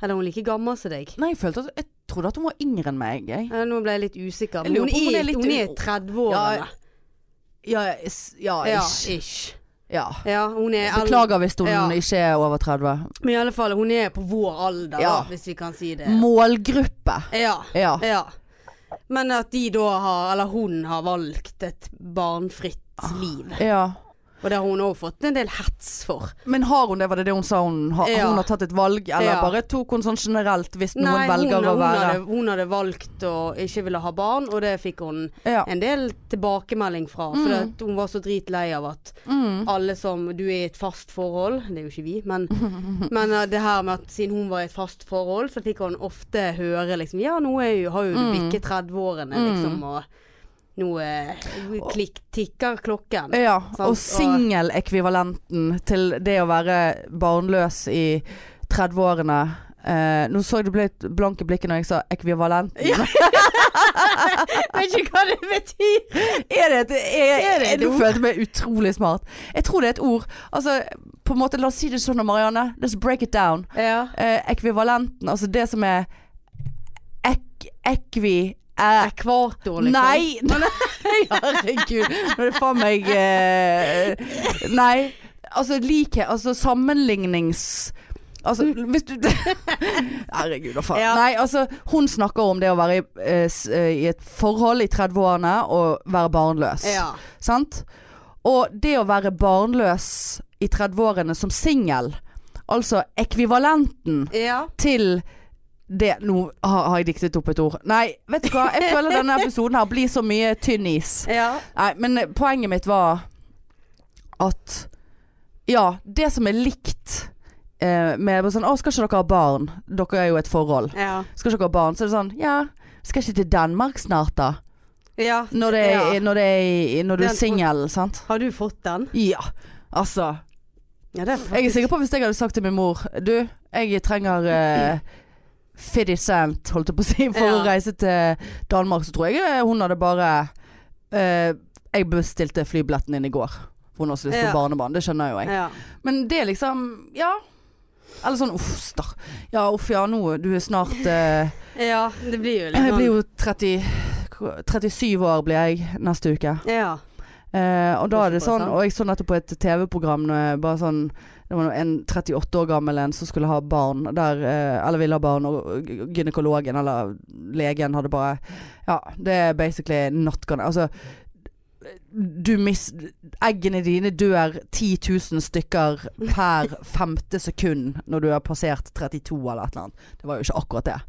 Speaker 2: Eller er hun like gammel som deg?
Speaker 1: Nei, jeg følte at Jeg trodde at hun var yngre enn meg, jeg.
Speaker 2: Eh, Nå ble jeg litt usikker.
Speaker 1: Jeg
Speaker 2: Men
Speaker 1: lurer
Speaker 2: hun
Speaker 1: på om hun
Speaker 2: er,
Speaker 1: er litt
Speaker 2: hun er
Speaker 1: u-
Speaker 2: 30-årene.
Speaker 1: Ja, jeg s- ja,
Speaker 2: Ja,
Speaker 1: ish.
Speaker 2: ish.
Speaker 1: Ja.
Speaker 2: Ja, hun er eldre.
Speaker 1: Beklager hvis hun
Speaker 2: Ja.
Speaker 1: ikke er over 30.
Speaker 2: Men i alle fall, hun er på vår alder,
Speaker 1: Ja.
Speaker 2: da, hvis vi kan si det.
Speaker 1: Målgruppe.
Speaker 2: Ja.
Speaker 1: Ja.
Speaker 2: ja. Men at de da har, eller hun har valgt et barnfritt
Speaker 1: Ah.
Speaker 2: liv.
Speaker 1: Ja.
Speaker 2: Og det har hun òg fått en del hets for.
Speaker 1: Men har hun det, var det det hun sa? Hun har,
Speaker 2: Ja.
Speaker 1: hun har tatt et valg, eller
Speaker 2: Ja.
Speaker 1: bare tok hun sånn generelt hvis noen velger
Speaker 2: hun,
Speaker 1: å
Speaker 2: hun,
Speaker 1: være
Speaker 2: hadde, hun hadde valgt å ikke ville ha barn, og det fikk hun
Speaker 1: ja.
Speaker 2: en del tilbakemelding fra. For at hun var så dritlei av at
Speaker 1: mm.
Speaker 2: alle som Du er i et fast forhold, det er jo ikke vi, men, men eh, det her med at siden hun var i et fast forhold, så fikk hun ofte høre liksom Ja, nå er jo, har jo du
Speaker 1: Mm.
Speaker 2: bikket 30-årene, liksom, og nå eh, klikk, tikker klokken.
Speaker 1: ja.
Speaker 2: Sant, og-
Speaker 1: Og singelekvivalenten til det å være barnløs i 30-årene eh, Nå så jeg det ble et blanke blikket når jeg sa ekvivalenten.
Speaker 2: Vet ikke hva det betyr!
Speaker 1: Er det et
Speaker 2: Er det et
Speaker 1: Nå
Speaker 2: ord?
Speaker 1: følte jeg meg utrolig smart. Jeg tror det er et ord. Altså, på en måte, la oss si det sånn, Marianne. Let's break it down.
Speaker 2: Ja.
Speaker 1: Eh, ekvivalenten, altså det som er ek, ekvi... eh,
Speaker 2: Ekvator, liksom.
Speaker 1: Nei! nei, Herregud. Nå er det faen meg eh, Nei. Altså likhet Altså sammenlignings... Altså hvis du Herregud, da faen.
Speaker 2: Ja.
Speaker 1: Nei, altså hun snakker om det å være i, eh, s- eh, i et forhold i 30-årene og være barnløs.
Speaker 2: Ja.
Speaker 1: Sant? Og det å være barnløs i 30-årene som singel, altså ekvivalenten
Speaker 2: ja.
Speaker 1: til det Nå har, har jeg diktet opp et ord. Nei, vet du hva. Jeg føler denne episoden her blir så mye tynn is.
Speaker 2: Ja.
Speaker 1: Nei, men poenget mitt var at Ja, det som er likt eh, med bare sånn Å, skal ikke dere ha barn? Dere er jo i et forhold.
Speaker 2: Ja.
Speaker 1: Skal ikke dere ha barn? Så er det sånn Ja, skal ikke til Danmark snart, da?
Speaker 2: ja.
Speaker 1: Når, det, er-
Speaker 2: Ja.
Speaker 1: når, det, er- når du
Speaker 2: Den-
Speaker 1: er singel, sant?
Speaker 2: Har du fått den?
Speaker 1: Ja. Altså.
Speaker 2: Ja, det er
Speaker 1: Jeg er sikker på hvis jeg hadde sagt til min mor Du, jeg trenger uh, 50 cent, holdt jeg på å si, for å
Speaker 2: Ja.
Speaker 1: reise til Danmark, så tror jeg eh, hun hadde bare eh, Jeg bestilte flybilletten din i går. For hun har også lyst på
Speaker 2: Ja.
Speaker 1: barnebarn, det skjønner jo jeg.
Speaker 2: Ja.
Speaker 1: Men det er liksom Ja. Eller sånn uff, star. Ja, uff ja, nå du er snart eh,
Speaker 2: ja, det blir jo litt
Speaker 1: Jeg
Speaker 2: sånn.
Speaker 1: blir jo 30 37 år blir jeg neste uke.
Speaker 2: sånn- Ja.
Speaker 1: Eh, og da
Speaker 2: Det er
Speaker 1: er det sånn,
Speaker 2: såpass, ja.
Speaker 1: og jeg så nettopp på et TV-program eh, Bare sånn, det var en 38 år gammel en som skulle ha barn der, eh, Eller ville ha barn Og g- gynekologen eller legen hadde bare Ja, det er basically not gonna Altså du miss, eggene dine dør 10 000 stykker per femte sekund når du har passert 32 eller et eller annet. Det var jo ikke akkurat det.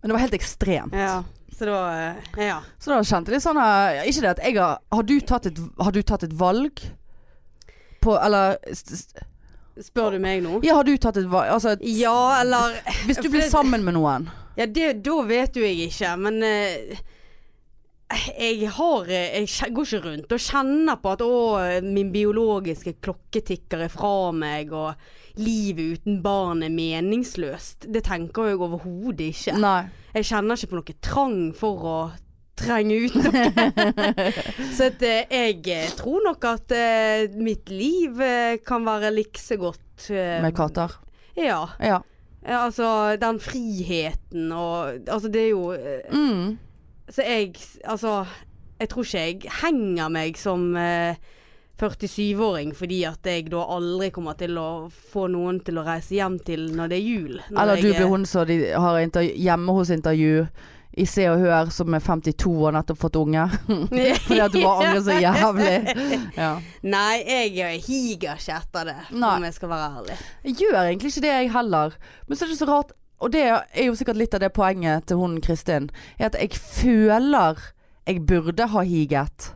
Speaker 1: Men det var helt ekstremt.
Speaker 2: ja. Så da eh, Ja.
Speaker 1: Så da kjente jeg litt sånn eh, Ikke det at jeg har Har du tatt et, har du tatt et valg? På, eller s- s-
Speaker 2: Spør du meg nå?
Speaker 1: Ja, har du tatt et valg? Altså,
Speaker 2: Ja, eller
Speaker 1: hvis du blir
Speaker 2: for-
Speaker 1: sammen med noen
Speaker 2: Ja, det, da vet jo jeg ikke, men eh, jeg har eh, Jeg kje- går ikke rundt og kjenner på at å, min biologiske klokke tikker er fra meg, og livet uten barn er meningsløst. Det tenker jeg overhodet ikke.
Speaker 1: Nei.
Speaker 2: Jeg kjenner ikke på noe trang for å trenge ut noe. så at, eh, jeg eh, tror nok at eh, mitt liv eh, kan være liksegodt. Eh,
Speaker 1: Med katter.
Speaker 2: Ja.
Speaker 1: Ja.
Speaker 2: Eh, Altså, den friheten og Altså, det er jo eh,
Speaker 1: Mm.
Speaker 2: Så jeg Altså, jeg tror ikke jeg henger meg som eh, 47-åring fordi at jeg da aldri kommer til å få noen til å reise hjem til når det er jul. Når
Speaker 1: Eller du
Speaker 2: jeg, eh,
Speaker 1: blir hun som de har intervju, hjemme hos intervju i Se og Hør, som er 52 og nettopp fått unge. Fordi at du bare angrer så jævlig. Ja.
Speaker 2: Nei, jeg eh, higer ikke etter det,
Speaker 1: Nei.
Speaker 2: om jeg skal være ærlig.
Speaker 1: Jeg gjør egentlig ikke det jeg heller. Men så er det så rart Og det er jo sikkert litt av det poenget til hun Kristin. Er at jeg føler jeg burde ha higet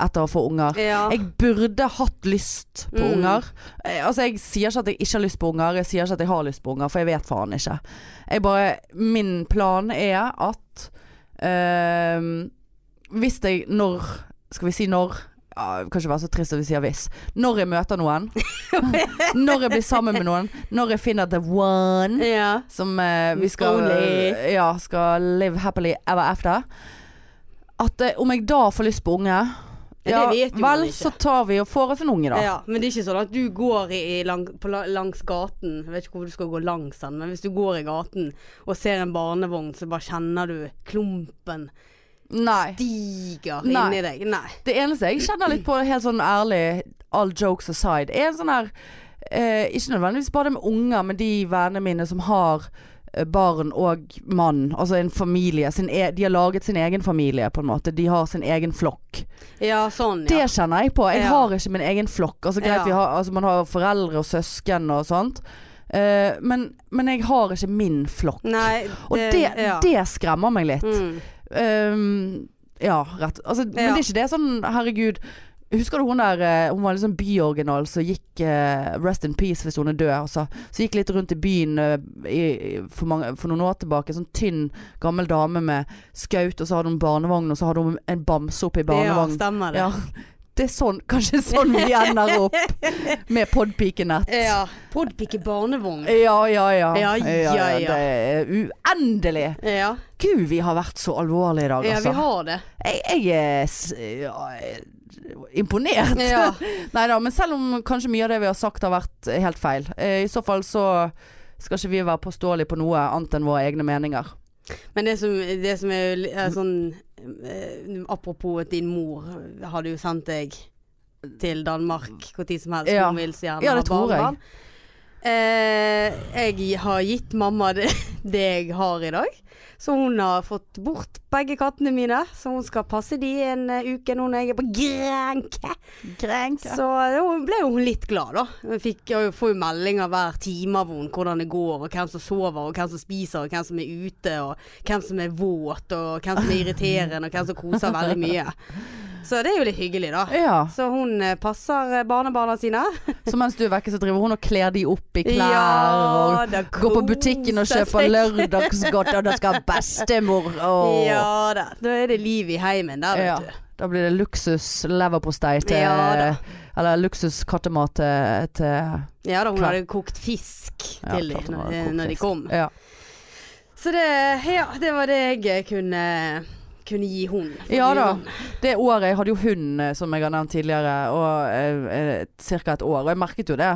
Speaker 1: etter å få unger.
Speaker 2: Ja.
Speaker 1: Jeg burde hatt lyst på
Speaker 2: Mm.
Speaker 1: unger. Eh, Altså Jeg sier ikke at jeg ikke har lyst på unger, jeg sier ikke at jeg har lyst på unger, for jeg vet faen ikke. Jeg bare, min plan er at ehm, hvis jeg når Skal vi si når? Ja, det kan ikke være så trist at vi sier hvis. Når jeg møter noen. når jeg blir sammen med noen. Når jeg finner the one.
Speaker 2: ja.
Speaker 1: Som eh, vi skal, eh,
Speaker 2: Only.
Speaker 1: ja, skal live happily ever after. At eh, om jeg da får lyst på unge
Speaker 2: det vet jo man
Speaker 1: vel,
Speaker 2: ikke.
Speaker 1: så tar vi og får oss en unge, da.
Speaker 2: Ja, men det er ikke sånn at du går i, i lang, på, la- langs gaten Jeg vet ikke hvor du skal gå langs den, men hvis du går i gaten og ser en barnevogn, så bare kjenner du klumpen
Speaker 1: Nei.
Speaker 2: stiger
Speaker 1: Nei.
Speaker 2: inni deg. Nei.
Speaker 1: Det eneste jeg kjenner litt på, helt sånn ærlig, all jokes aside, er en sånn her eh, Ikke nødvendigvis bare det med unger, men de vennene mine som har eh, barn og mann, altså en familie. Sin e de har laget sin egen familie, på en måte. De har sin egen flokk.
Speaker 2: Ja, sånn,
Speaker 1: Det
Speaker 2: ja.
Speaker 1: kjenner jeg på. Jeg
Speaker 2: Ja.
Speaker 1: har ikke min egen flokk. Altså, greit,
Speaker 2: Ja.
Speaker 1: vi har, altså, man har foreldre og søsken og sånt. Eh, men, men jeg har ikke min flokk.
Speaker 2: Nei,
Speaker 1: Og det,
Speaker 2: ja.
Speaker 1: det skremmer meg litt.
Speaker 2: Mm.
Speaker 1: Ehm, ja, rett. Altså, Men
Speaker 2: Ja.
Speaker 1: det er ikke det sånn, herregud. Husker du hun der, eh, hun var liksom byoriginal som gikk eh, Rest in peace hvis hun er død, altså. Så gikk litt rundt i byen eh, i, i- for, mange, for noen år tilbake. En sånn tynn, gammel dame med skaut, og så hadde hun barnevogn, og så hadde hun en bamse oppi
Speaker 2: ja,
Speaker 1: barnevogn.
Speaker 2: stemmer det.
Speaker 1: Ja. Det er sånn, kanskje sånn vi ender opp med podpikenett.
Speaker 2: Ja. Podpike barnevogn.
Speaker 1: ja, ja. Ja,
Speaker 2: Ja, ja, ja.
Speaker 1: Det er uendelig.
Speaker 2: Ja.
Speaker 1: Gud, vi har vært så alvorlige i dag,
Speaker 2: ja,
Speaker 1: altså.
Speaker 2: vi har det.
Speaker 1: Jeg, jeg er s- ja, eh, imponert.
Speaker 2: Ja.
Speaker 1: Nei da, men selv om kanskje mye av det vi har sagt har vært helt feil. eh, I så fall så skal ikke vi være påståelige på noe annet enn våre egne meninger.
Speaker 2: Men det som, det som er, li- er sånn eh, Apropos at din mor hadde jo sendt deg til Danmark hvor tid som helst.
Speaker 1: Ja.
Speaker 2: Hun vil så gjerne
Speaker 1: Ja,
Speaker 2: ha
Speaker 1: det tror
Speaker 2: barnebarn. Eh, jeg har gitt mamma det, det jeg har i dag. Så hun har fått bort begge kattene mine. Så hun skal passe de en eh, uke nå når jeg er på Grenke. Så hun ble jo hun litt glad, da. Hun fikk, jeg får jo meldinger hver time av henne hvordan det går, og hvem som sover, og hvem som spiser, og hvem som er ute, og hvem som er våt, og hvem som er irriterende, og hvem som koser veldig mye. Så det er jo litt hyggelig, da.
Speaker 1: Ja.
Speaker 2: Så hun eh, passer eh, barnebarna sine.
Speaker 1: Så mens du er vekke, så driver hun og kler de opp i klær. og
Speaker 2: da
Speaker 1: Går på butikken og
Speaker 2: koser
Speaker 1: kjøper
Speaker 2: seg.
Speaker 1: lørdagsgodt, og da skal bestemor og
Speaker 2: Ja da. Da er det liv i heimen der,
Speaker 1: Ja.
Speaker 2: vet du.
Speaker 1: Da blir det luksus leverpostei til eh,
Speaker 2: Ja da.
Speaker 1: Eller luksus kattemat til, til
Speaker 2: Ja da, hun
Speaker 1: Klart.
Speaker 2: hadde kokt fisk
Speaker 1: Ja,
Speaker 2: til
Speaker 1: klart hun
Speaker 2: dem
Speaker 1: hadde
Speaker 2: når,
Speaker 1: kokt
Speaker 2: når de
Speaker 1: fisk.
Speaker 2: kom.
Speaker 1: ja.
Speaker 2: Så det, ja, det var det jeg kunne, kunne gi hun.
Speaker 1: Ja da.
Speaker 2: Hun-
Speaker 1: Det året jeg hadde jo hund, eh, som jeg har nevnt tidligere, og eh, ca. et år. Og jeg merket jo det.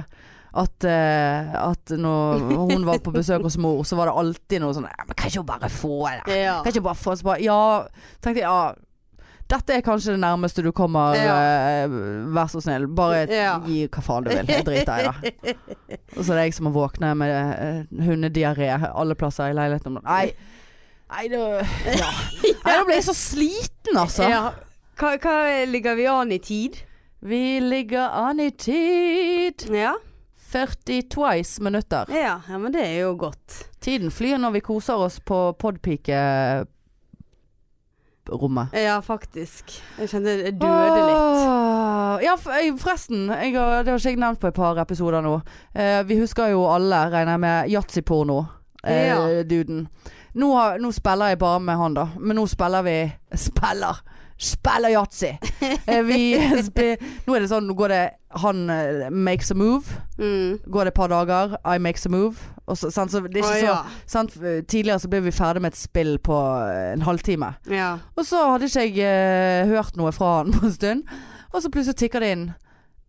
Speaker 1: At, eh, at når hun var på besøk hos mor, så var det alltid noe sånn «Ja, Men kan ikke hun bare få det?
Speaker 2: Ja.
Speaker 1: Kan ikke hun bare få så bare Ja, tenkte jeg. Ja, dette er kanskje det nærmeste du kommer.
Speaker 2: Ja.
Speaker 1: eh, vær så snill. Bare
Speaker 2: Ja.
Speaker 1: gi hva faen du vil. Jeg driter i det. Og så er det jeg som må våkne med eh, hundediaré alle plasser i leiligheten. om dagen. Nei. Nei, da ja. Nei, da ble jeg så sliten, altså.
Speaker 2: Ja. Hva, hva ligger vi an i tid?
Speaker 1: Vi ligger an i tid
Speaker 2: Ja.
Speaker 1: 40 twice minutter.
Speaker 2: ja, ja men det er jo godt.
Speaker 1: Tiden flyr når vi koser oss på podpike-rommet.
Speaker 2: Ja, faktisk. Jeg kjente det døde litt.
Speaker 1: Åh, Ja, for- jeg- forresten. Jeg, har- det har ikke jeg nevnt på et par episoder nå. Eh, vi husker jo alle, regner jeg med, yatzyporno. Eh,
Speaker 2: Ja.
Speaker 1: Duden. Nå, har, nå spiller jeg bare med han, da. Men nå spiller vi Spiller! Spiller yatzy! Eh, vi spi- Nå er det sånn, nå går det Han eh, makes a move.
Speaker 2: Mm.
Speaker 1: går det et par dager, I makes a move. Og så, sant, så det er ikke så,
Speaker 2: Å, ja.
Speaker 1: sant, tidligere så ble vi ferdig med et spill på eh, en halvtime.
Speaker 2: ja.
Speaker 1: Og så hadde ikke jeg eh, hørt noe fra han på en stund. Og så plutselig tikker det inn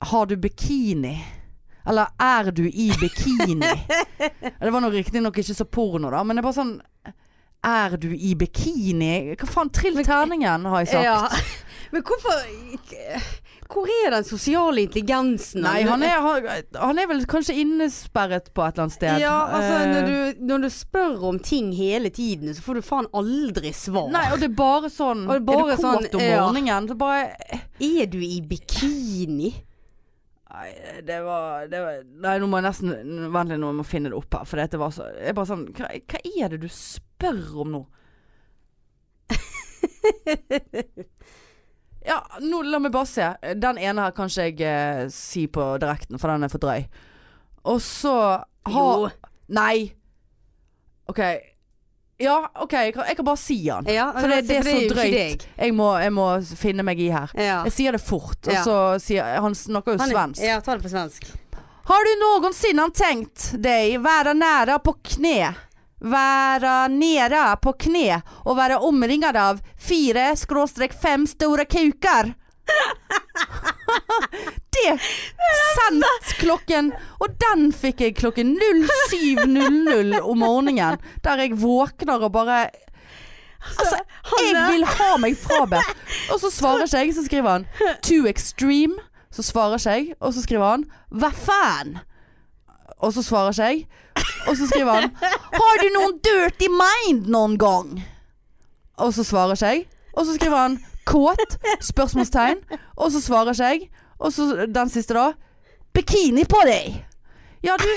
Speaker 1: Har du bikini? Eller er du i bikini? det var nå riktignok ikke så porno, da, men det er bare sånn Er du i bikini? Hva faen? Trill terningen, har jeg sagt.
Speaker 2: ja. Men hvorfor Hvor er den sosiale intelligensen?
Speaker 1: Nei, han er, han- han er vel kanskje innesperret på et eller annet sted.
Speaker 2: Ja, altså
Speaker 1: Eh,
Speaker 2: når du, når du spør om ting hele tiden, så får du faen aldri svar.
Speaker 1: Nei, og det er bare sånn
Speaker 2: Og det er bare
Speaker 1: Er du kåt
Speaker 2: sånn,
Speaker 1: om
Speaker 2: ja.
Speaker 1: morgenen? Så bare
Speaker 2: Er du i bikini?
Speaker 1: Nei, det var, det var Nei, nå må jeg nesten Vent litt, nå må jeg finne det opp her. For dette var så Jeg er bare sånn hva, hva er det du spør om nå? ja, nå la meg bare se. Den ene her kan ikke jeg eh, si på direkten, for den er for drøy. Og så har
Speaker 2: Jo.
Speaker 1: Nei. OK. Ja, OK, jeg kan, jeg kan bare si den.
Speaker 2: Ja,
Speaker 1: altså, For det, det er så
Speaker 2: jo ikke
Speaker 1: drøyt.
Speaker 2: deg.
Speaker 1: Jeg må, jeg må finne meg i her.
Speaker 2: Ja.
Speaker 1: Jeg sier det fort, og
Speaker 2: Ja.
Speaker 1: så sier Han snakker jo
Speaker 2: Han er-
Speaker 1: svensk.
Speaker 2: Ja, ta det på svensk.
Speaker 1: Har du noensinne tenkt deg være nære på kne? Være nere på kne og være omringet av fire skråstrek fem store kuker? det sendt klokken Og den fikk jeg klokken 07.00 om morgenen, der jeg våkner og bare Altså, jeg
Speaker 2: er-
Speaker 1: vil ha meg frabedt. Og så svarer ikke jeg, så skriver han 'too extreme'. Så svarer ikke jeg, og så skriver han 'hva faen'? Og så svarer ikke jeg. Og så skriver han 'Har du noen dirty mind noen gang?' Og så svarer ikke jeg. Og så skriver han 'kåt?' spørsmålstegn. Og så svarer ikke jeg. Og så den siste, da. 'Bikini på deg'. Ja, du,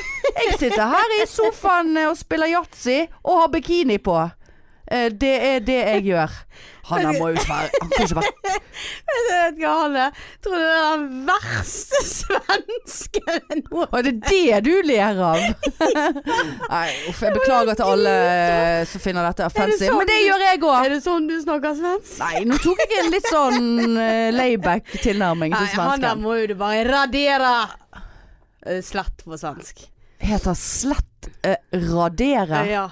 Speaker 1: jeg sitter her i sofaen eh, og spiller yatzy og har bikini på. Eh, Det er det jeg gjør. Han der må jo ikke være Han kan ikke være
Speaker 2: Jeg vet ikke hva han er. Jeg tror det er den verste svensken jeg noen
Speaker 1: Og det er det du ler av? Nei, uff. Jeg beklager til alle eh, som finner dette offensivt.
Speaker 2: sånn
Speaker 1: Men det
Speaker 2: du-
Speaker 1: gjør jeg òg.
Speaker 2: Er det sånn du snakker svensk?
Speaker 1: Nei, nå tok jeg en litt sånn eh, layback tilnærming
Speaker 2: Nei,
Speaker 1: til
Speaker 2: han der
Speaker 1: svensken.
Speaker 2: må jo du bare radere. Eh, Slett på svensk.
Speaker 1: Heter slett eh, radere.
Speaker 2: Ja.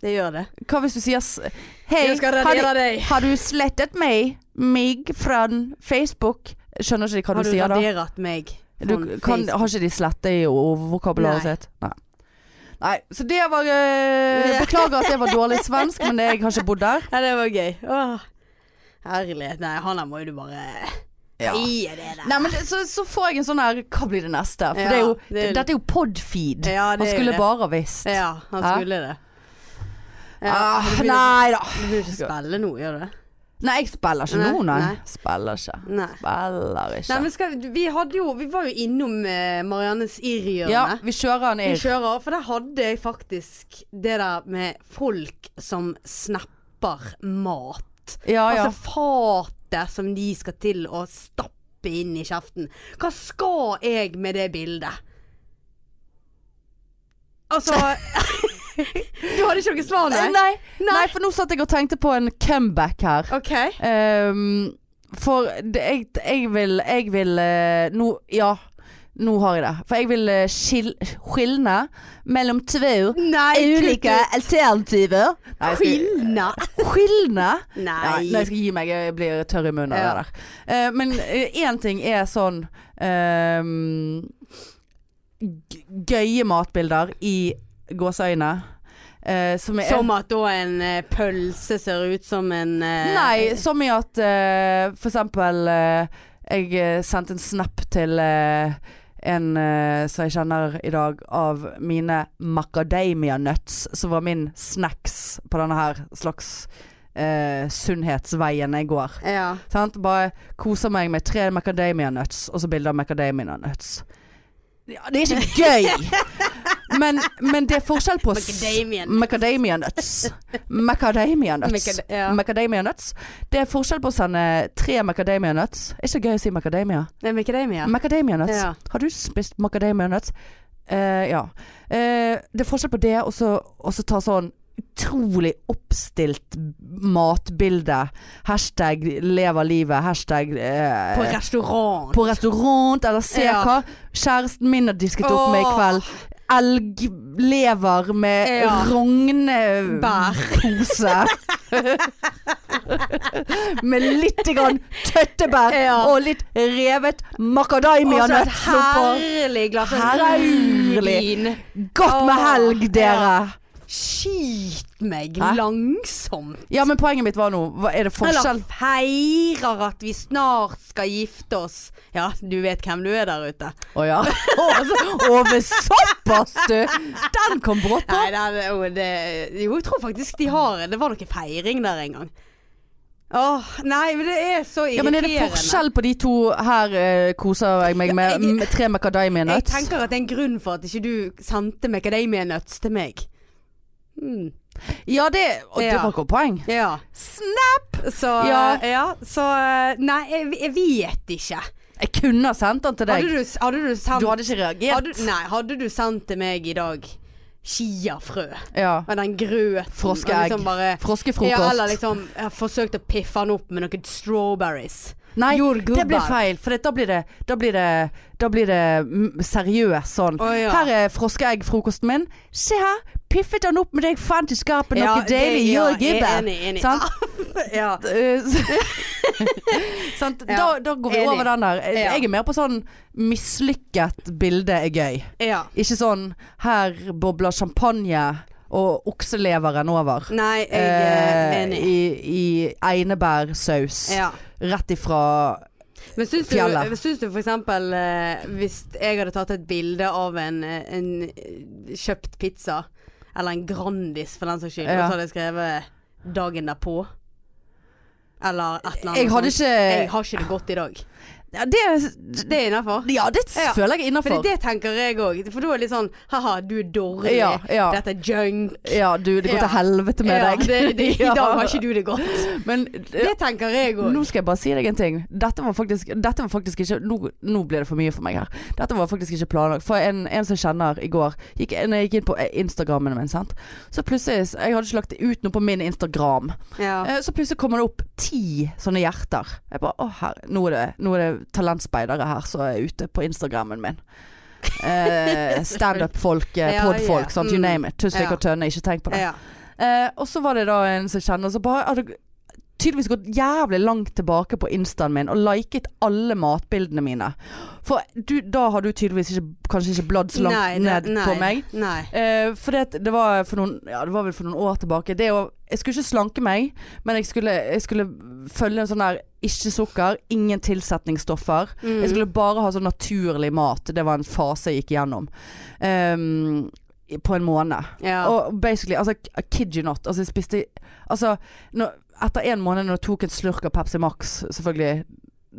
Speaker 2: Det gjør det.
Speaker 1: Hva hvis du sier s- Hei,
Speaker 2: Jeg skal
Speaker 1: har,
Speaker 2: radere
Speaker 1: du-
Speaker 2: deg.
Speaker 1: har du slettet meg? Mig fra Facebook? Skjønner ikke hva
Speaker 2: Har
Speaker 1: du,
Speaker 2: du
Speaker 1: sier da.
Speaker 2: raderet meg? sånn
Speaker 1: Du, kan, har ikke de slette i ordvokabularet
Speaker 2: Nei.
Speaker 1: sitt? Nei. Nei. Så det var eh, Beklager at det var dårlig svensk, men jeg har ikke bodd der.
Speaker 2: Ja, det var gøy. Åh. Herlighet. Nei, han der må jo du bare
Speaker 1: Ja.
Speaker 2: Gi det der.
Speaker 1: Nei, men det- så, så får jeg en sånn her Hva blir det neste? For
Speaker 2: Ja,
Speaker 1: det er jo,
Speaker 2: det er-
Speaker 1: dette er jo podfeed.
Speaker 2: Ja,
Speaker 1: Han
Speaker 2: det er jo
Speaker 1: skulle
Speaker 2: det.
Speaker 1: bare ha visst.
Speaker 2: Ja, han
Speaker 1: Hæ?
Speaker 2: skulle det. Ja,
Speaker 1: ah,
Speaker 2: du vil-
Speaker 1: nei da.
Speaker 2: Du vil ikke spille nå, gjør du det?
Speaker 1: Nei, jeg spiller ikke
Speaker 2: Nei,
Speaker 1: nå, nei.
Speaker 2: nei.
Speaker 1: Spiller ikke.
Speaker 2: Nei.
Speaker 1: Spiller ikke.
Speaker 2: Nei, men skal, vi, hadde jo, vi var jo innom eh, Mariannes
Speaker 1: ja,
Speaker 2: irrhjørne.
Speaker 1: vi kjører den
Speaker 2: Vi
Speaker 1: i
Speaker 2: kjører, for der hadde jeg faktisk det der med folk som snapper mat.
Speaker 1: Ja, ja.
Speaker 2: Altså fatet som de skal til å stappe inn i kjeften. Hva skal jeg med det bildet? Altså Du hadde ikke noe svar,
Speaker 1: Nei,
Speaker 2: nei?
Speaker 1: nei.
Speaker 2: Nei.
Speaker 1: nei, for nå satt jeg og tenkte på en comeback her.
Speaker 2: OK.
Speaker 1: Ehm, for det, jeg, jeg vil, jeg vil eh, nå, Ja, nå har jeg det. For jeg vil eh, skil, skilne mellom to
Speaker 2: Nei,
Speaker 1: ulike alternativer. Nei, jeg skal-
Speaker 2: Skilne?
Speaker 1: Skilne? Ja,
Speaker 2: Nei.
Speaker 1: nei, jeg skal gi meg. Jeg blir tørr i munnen av
Speaker 2: Ja.
Speaker 1: det der. Eh, men én ting er sånn ehm, g- Gøye matbilder i gåseøyne. eh, som er
Speaker 2: Som at da en eh, pølse ser ut som en eh,
Speaker 1: Nei, som i at eh, for eksempel eh, Jeg eh, sendte en snap til eh, en eh, som jeg kjenner i dag, av mine macadamia nuts, som var min snacks på denne her slags eh, sunnhetsveien jeg går.
Speaker 2: Ja.
Speaker 1: Sant? Bare koser meg med tre macadamia nuts, og så bilde av macadamia nuts. Ja, det er ikke gøy! Men, men det er forskjell på s-
Speaker 2: Macadamia nuts.
Speaker 1: Macadamia nuts. Macadamia nuts.
Speaker 2: Macad- ja.
Speaker 1: Macadamia nuts. Det er forskjell på å sende tre macadamia nuts. Er ikke det gøy å si macadamia?
Speaker 2: Nei, men ikke det, Mia.
Speaker 1: Macadamia nuts.
Speaker 2: Ja.
Speaker 1: Har du spist macadamia nuts? Eh, ja. Eh, det er forskjell på det og så og så ta sånn utrolig oppstilt matbilde. Hashtag lever livet. Hashtag eh,
Speaker 2: På restaurant.
Speaker 1: på restaurant, eller se
Speaker 2: Ja.
Speaker 1: hva kjæresten min har disket opp med i
Speaker 2: Åh.
Speaker 1: kveld. Elglever med
Speaker 2: Ja. Bær.
Speaker 1: rognepose. med litt grann tøttebær
Speaker 2: Ja.
Speaker 1: og litt revet macadamia
Speaker 2: Og så et
Speaker 1: nuts oppå.
Speaker 2: herlig glass
Speaker 1: Herlig.
Speaker 2: rødvin.
Speaker 1: Godt med
Speaker 2: Åh,
Speaker 1: helg, dere!
Speaker 2: Skyt meg
Speaker 1: Hæ?
Speaker 2: langsomt.
Speaker 1: Ja, men poenget mitt var nå hva Er det
Speaker 2: Eller
Speaker 1: forskjell?
Speaker 2: feirer at vi snart skal gifte oss. Ja, du vet hvem du er der ute.
Speaker 1: Å ja. Å, altså, å, men såpass, du! Den kom brått på.
Speaker 2: Nei, det, er- jo, det, jo, jeg tror faktisk de har Det var noe feiring der en gang. Åh, nei, men det er så
Speaker 1: Ja, men
Speaker 2: irriterende.
Speaker 1: er det forskjell på de to her eh, koser jeg meg med, mm,
Speaker 2: Ja, jeg-
Speaker 1: med tre macadamia
Speaker 2: Jeg
Speaker 1: nuts?
Speaker 2: tenker at det er en grunn for at ikke du sendte macadamia nuts til meg. Hmm.
Speaker 1: Ja, det Og det
Speaker 2: Ja.
Speaker 1: var ikke poeng.
Speaker 2: Ja. Så, eh,
Speaker 1: Ja.
Speaker 2: ja. så eh, Nei, jeg, jeg vet ikke.
Speaker 1: Jeg kunne ha sendt den til
Speaker 2: Hadde
Speaker 1: deg.
Speaker 2: du, hadde du sendt
Speaker 1: Du hadde ikke reagert.
Speaker 2: hadde, Nei, hadde du sendt til meg i dag chiafrø
Speaker 1: Ja.
Speaker 2: med den grøten
Speaker 1: Froskeegg.
Speaker 2: og Liksom bare,
Speaker 1: Froskefrokost.
Speaker 2: ja, eller liksom jeg har forsøkt å piffe den opp med noen strawberries.
Speaker 1: Nei,
Speaker 2: Jordgubber.
Speaker 1: det blir feil. For det, da blir det Da blir det, da blir det mm, seriøst sånn.
Speaker 2: Å, ja.
Speaker 1: Her er froskeegg-frokosten min. Se her. Piffet den opp med deg fant i skapet noe
Speaker 2: det-
Speaker 1: deilig
Speaker 2: ja, jeg er
Speaker 1: jordgubbe.
Speaker 2: Enig, enig. Ah,
Speaker 1: Sant?
Speaker 2: ja.
Speaker 1: Eh, Sant?
Speaker 2: Ja,
Speaker 1: Da, da går vi
Speaker 2: enig.
Speaker 1: over den der.
Speaker 2: Ja.
Speaker 1: Jeg er mer på sånn mislykket bilde er gøy.
Speaker 2: ja.
Speaker 1: Ikke sånn her bobler champagne og okseleveren over.
Speaker 2: Nei, jeg er
Speaker 1: Eh,
Speaker 2: enig.
Speaker 1: I, i einebærsaus.
Speaker 2: Ja.
Speaker 1: Rett ifra
Speaker 2: Men syns du,
Speaker 1: Fjellet.
Speaker 2: syns du for eksempel eh, hvis jeg hadde tatt et bilde av en, eh, en eh, kjøpt pizza, eller en Grandis for den saks skyld,
Speaker 1: Ja.
Speaker 2: og så hadde jeg skrevet 'dagen derpå'? Eller et eller annet.
Speaker 1: Jeg hadde
Speaker 2: sånt. Jeg
Speaker 1: ikke eh,
Speaker 2: har ikke det godt i dag.
Speaker 1: ja, Det,
Speaker 2: Det er innafor.
Speaker 1: ja, det
Speaker 2: Ja.
Speaker 1: føler jeg er
Speaker 2: For
Speaker 1: innafor.
Speaker 2: det tenker jeg òg. For da er det litt sånn ha-ha, du er dårlig.
Speaker 1: Ja, ja.
Speaker 2: Dette er junk.
Speaker 1: Ja, du, det går
Speaker 2: Ja.
Speaker 1: til helvete med
Speaker 2: Ja,
Speaker 1: deg.
Speaker 2: Det, det, I
Speaker 1: Ja.
Speaker 2: dag har ikke du det godt.
Speaker 1: Men
Speaker 2: Det tenker jeg òg.
Speaker 1: Nå skal jeg bare si deg en ting. Dette var faktisk, dette var faktisk ikke nå, nå ble det for mye for meg her. Dette var faktisk ikke planlagt. For en, en som jeg kjenner i går gikk, Når jeg gikk inn på eh, Instagrammen min, sant. Så plutselig Jeg hadde ikke lagt ut noe på min Instagram.
Speaker 2: Ja.
Speaker 1: Eh, Så plutselig kommer det opp ti sånne hjerter. Jeg bare Å, herre. Nå er det, nå er det talentspeidere her som er ute på Instagrammen min. Eh, Standup-folk, eh,
Speaker 2: Ja,
Speaker 1: podfolk,
Speaker 2: ja.
Speaker 1: sant. You
Speaker 2: Mm.
Speaker 1: name it. Tusvik
Speaker 2: Ja.
Speaker 1: og Tønne, ikke tenk på det.
Speaker 2: ja.
Speaker 1: Eh, og så var det da en som kjenner som bare hadde tydeligvis gått jævlig langt tilbake på instaen min og liket alle matbildene mine. For du, da har du tydeligvis ikke, kanskje ikke bladd så langt
Speaker 2: Nei, det-
Speaker 1: ned
Speaker 2: nei,
Speaker 1: på meg.
Speaker 2: Nei.
Speaker 1: Eh, for det, det, var for noen, ja, det var vel for noen år tilbake. Det å, jeg skulle ikke slanke meg, men jeg skulle, jeg skulle følge en sånn der ikke sukker, ingen tilsetningsstoffer.
Speaker 2: Mm.
Speaker 1: Jeg skulle bare ha sånn naturlig mat. Det var en fase jeg gikk gjennom. Ehm, i- på en måned.
Speaker 2: Mm. ja.
Speaker 1: Og basically, altså I kid you not. Altså jeg spiste Altså når, etter en måned når jeg tok en slurk av Pepsi Max, selvfølgelig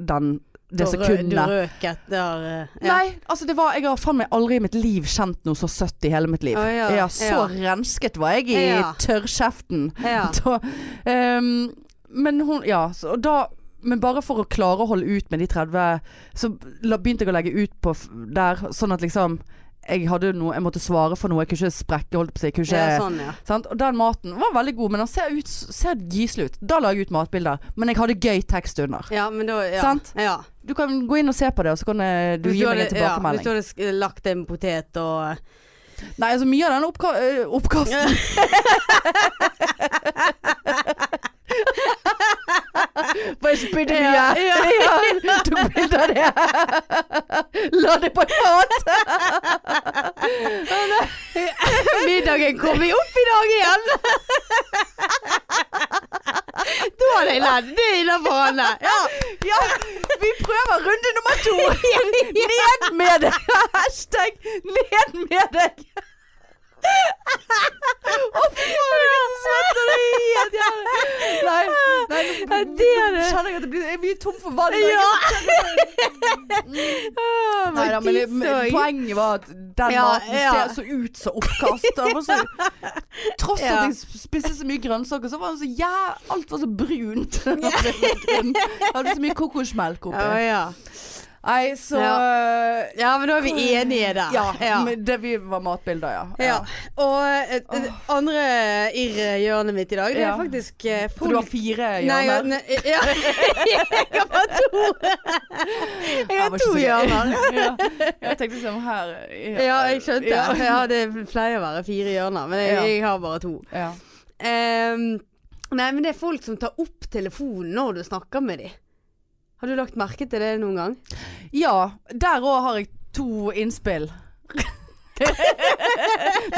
Speaker 1: den det
Speaker 2: Da rø-
Speaker 1: sekundet.
Speaker 2: Du røk etter eh, ja.
Speaker 1: Nei, altså det var Jeg har faen meg aldri i mitt liv kjent noe så søtt i hele mitt liv.
Speaker 2: Å, ja.
Speaker 1: så
Speaker 2: Ja.
Speaker 1: rensket var jeg i
Speaker 2: Ja.
Speaker 1: tørrkjeften.
Speaker 2: Ja.
Speaker 1: Da, ehm, men hun Ja, så og da men bare for å klare å holde ut med de 30, så la, begynte jeg å legge ut på f der, sånn at liksom Jeg hadde noe Jeg måtte svare for noe. Jeg kunne ikke sprekke, holdt på å si. Jeg kunne ikke
Speaker 2: ja, sånn, ja.
Speaker 1: Sant? Og den maten var veldig god, men den ser, ut, ser gyselig ut. Da la jeg ut matbilder, men jeg hadde gøy tekst under.
Speaker 2: ja, men da ja.
Speaker 1: Sant?
Speaker 2: Ja.
Speaker 1: Du kan gå inn og se på det, og så kan eh, du
Speaker 2: Hvis
Speaker 1: gi meg en
Speaker 2: hadde- Ja, hvis
Speaker 1: tilbakemelding.
Speaker 2: du hadde sk- lagt en potet og eh,
Speaker 1: Nei, altså mye av den oppka eh, oppkasten Bare spydde mye.
Speaker 2: Ja,
Speaker 1: Ja, Tok bilde av det. La det på hat.
Speaker 2: Middagen kommer jo opp i dag igjen! da hadde jeg ledd. Det er innafor, Anne. Ja.
Speaker 1: Ja, vi prøver runde nummer to. Ned med det. Hashtag ned med deg. Å, fy faen, jeg er svett, og det er helt jævlig. Nei, nei, nå
Speaker 2: Ja, det er det.
Speaker 1: kjenner jeg at det blir, jeg blir tom for vann.
Speaker 2: ja.
Speaker 1: Nei, da, men det, men
Speaker 2: Tisseøy.
Speaker 1: poenget var at den
Speaker 2: Ja,
Speaker 1: maten
Speaker 2: ja.
Speaker 1: ser så ut som oppkast. Den var Så, tross
Speaker 2: Ja.
Speaker 1: at jeg spiste så mye grønnsaker, så var den så jæ- alt var så brunt. Det var grunn. Jeg hadde så mye kokosmelk oppi.
Speaker 2: Ja, ja.
Speaker 1: Nei, så eh,
Speaker 2: ja, men da er vi enige der.
Speaker 1: Ja, Men det vi var matbilder, ja.
Speaker 2: Ja. Og et, et andre irr-hjørnet mitt i dag, det er
Speaker 1: Ja.
Speaker 2: faktisk eh,
Speaker 1: For du har fire
Speaker 2: Nei, ja,
Speaker 1: hjørner.
Speaker 2: nei, ja. Jeg har bare to. Jeg
Speaker 1: Jeg
Speaker 2: har
Speaker 1: var ikke
Speaker 2: to
Speaker 1: så-
Speaker 2: hjørner.
Speaker 1: ja. Jeg tenkte liksom her
Speaker 2: Ja, jeg skjønte.
Speaker 1: Ja.
Speaker 2: Ja, det pleier å være fire hjørner, men jeg,
Speaker 1: Ja.
Speaker 2: jeg har bare to.
Speaker 1: Ja.
Speaker 2: Ehm, nei, men det er folk som tar opp telefonen når du snakker med dem. Har du lagt merke til det noen gang?
Speaker 1: ja. Der òg har jeg to innspill.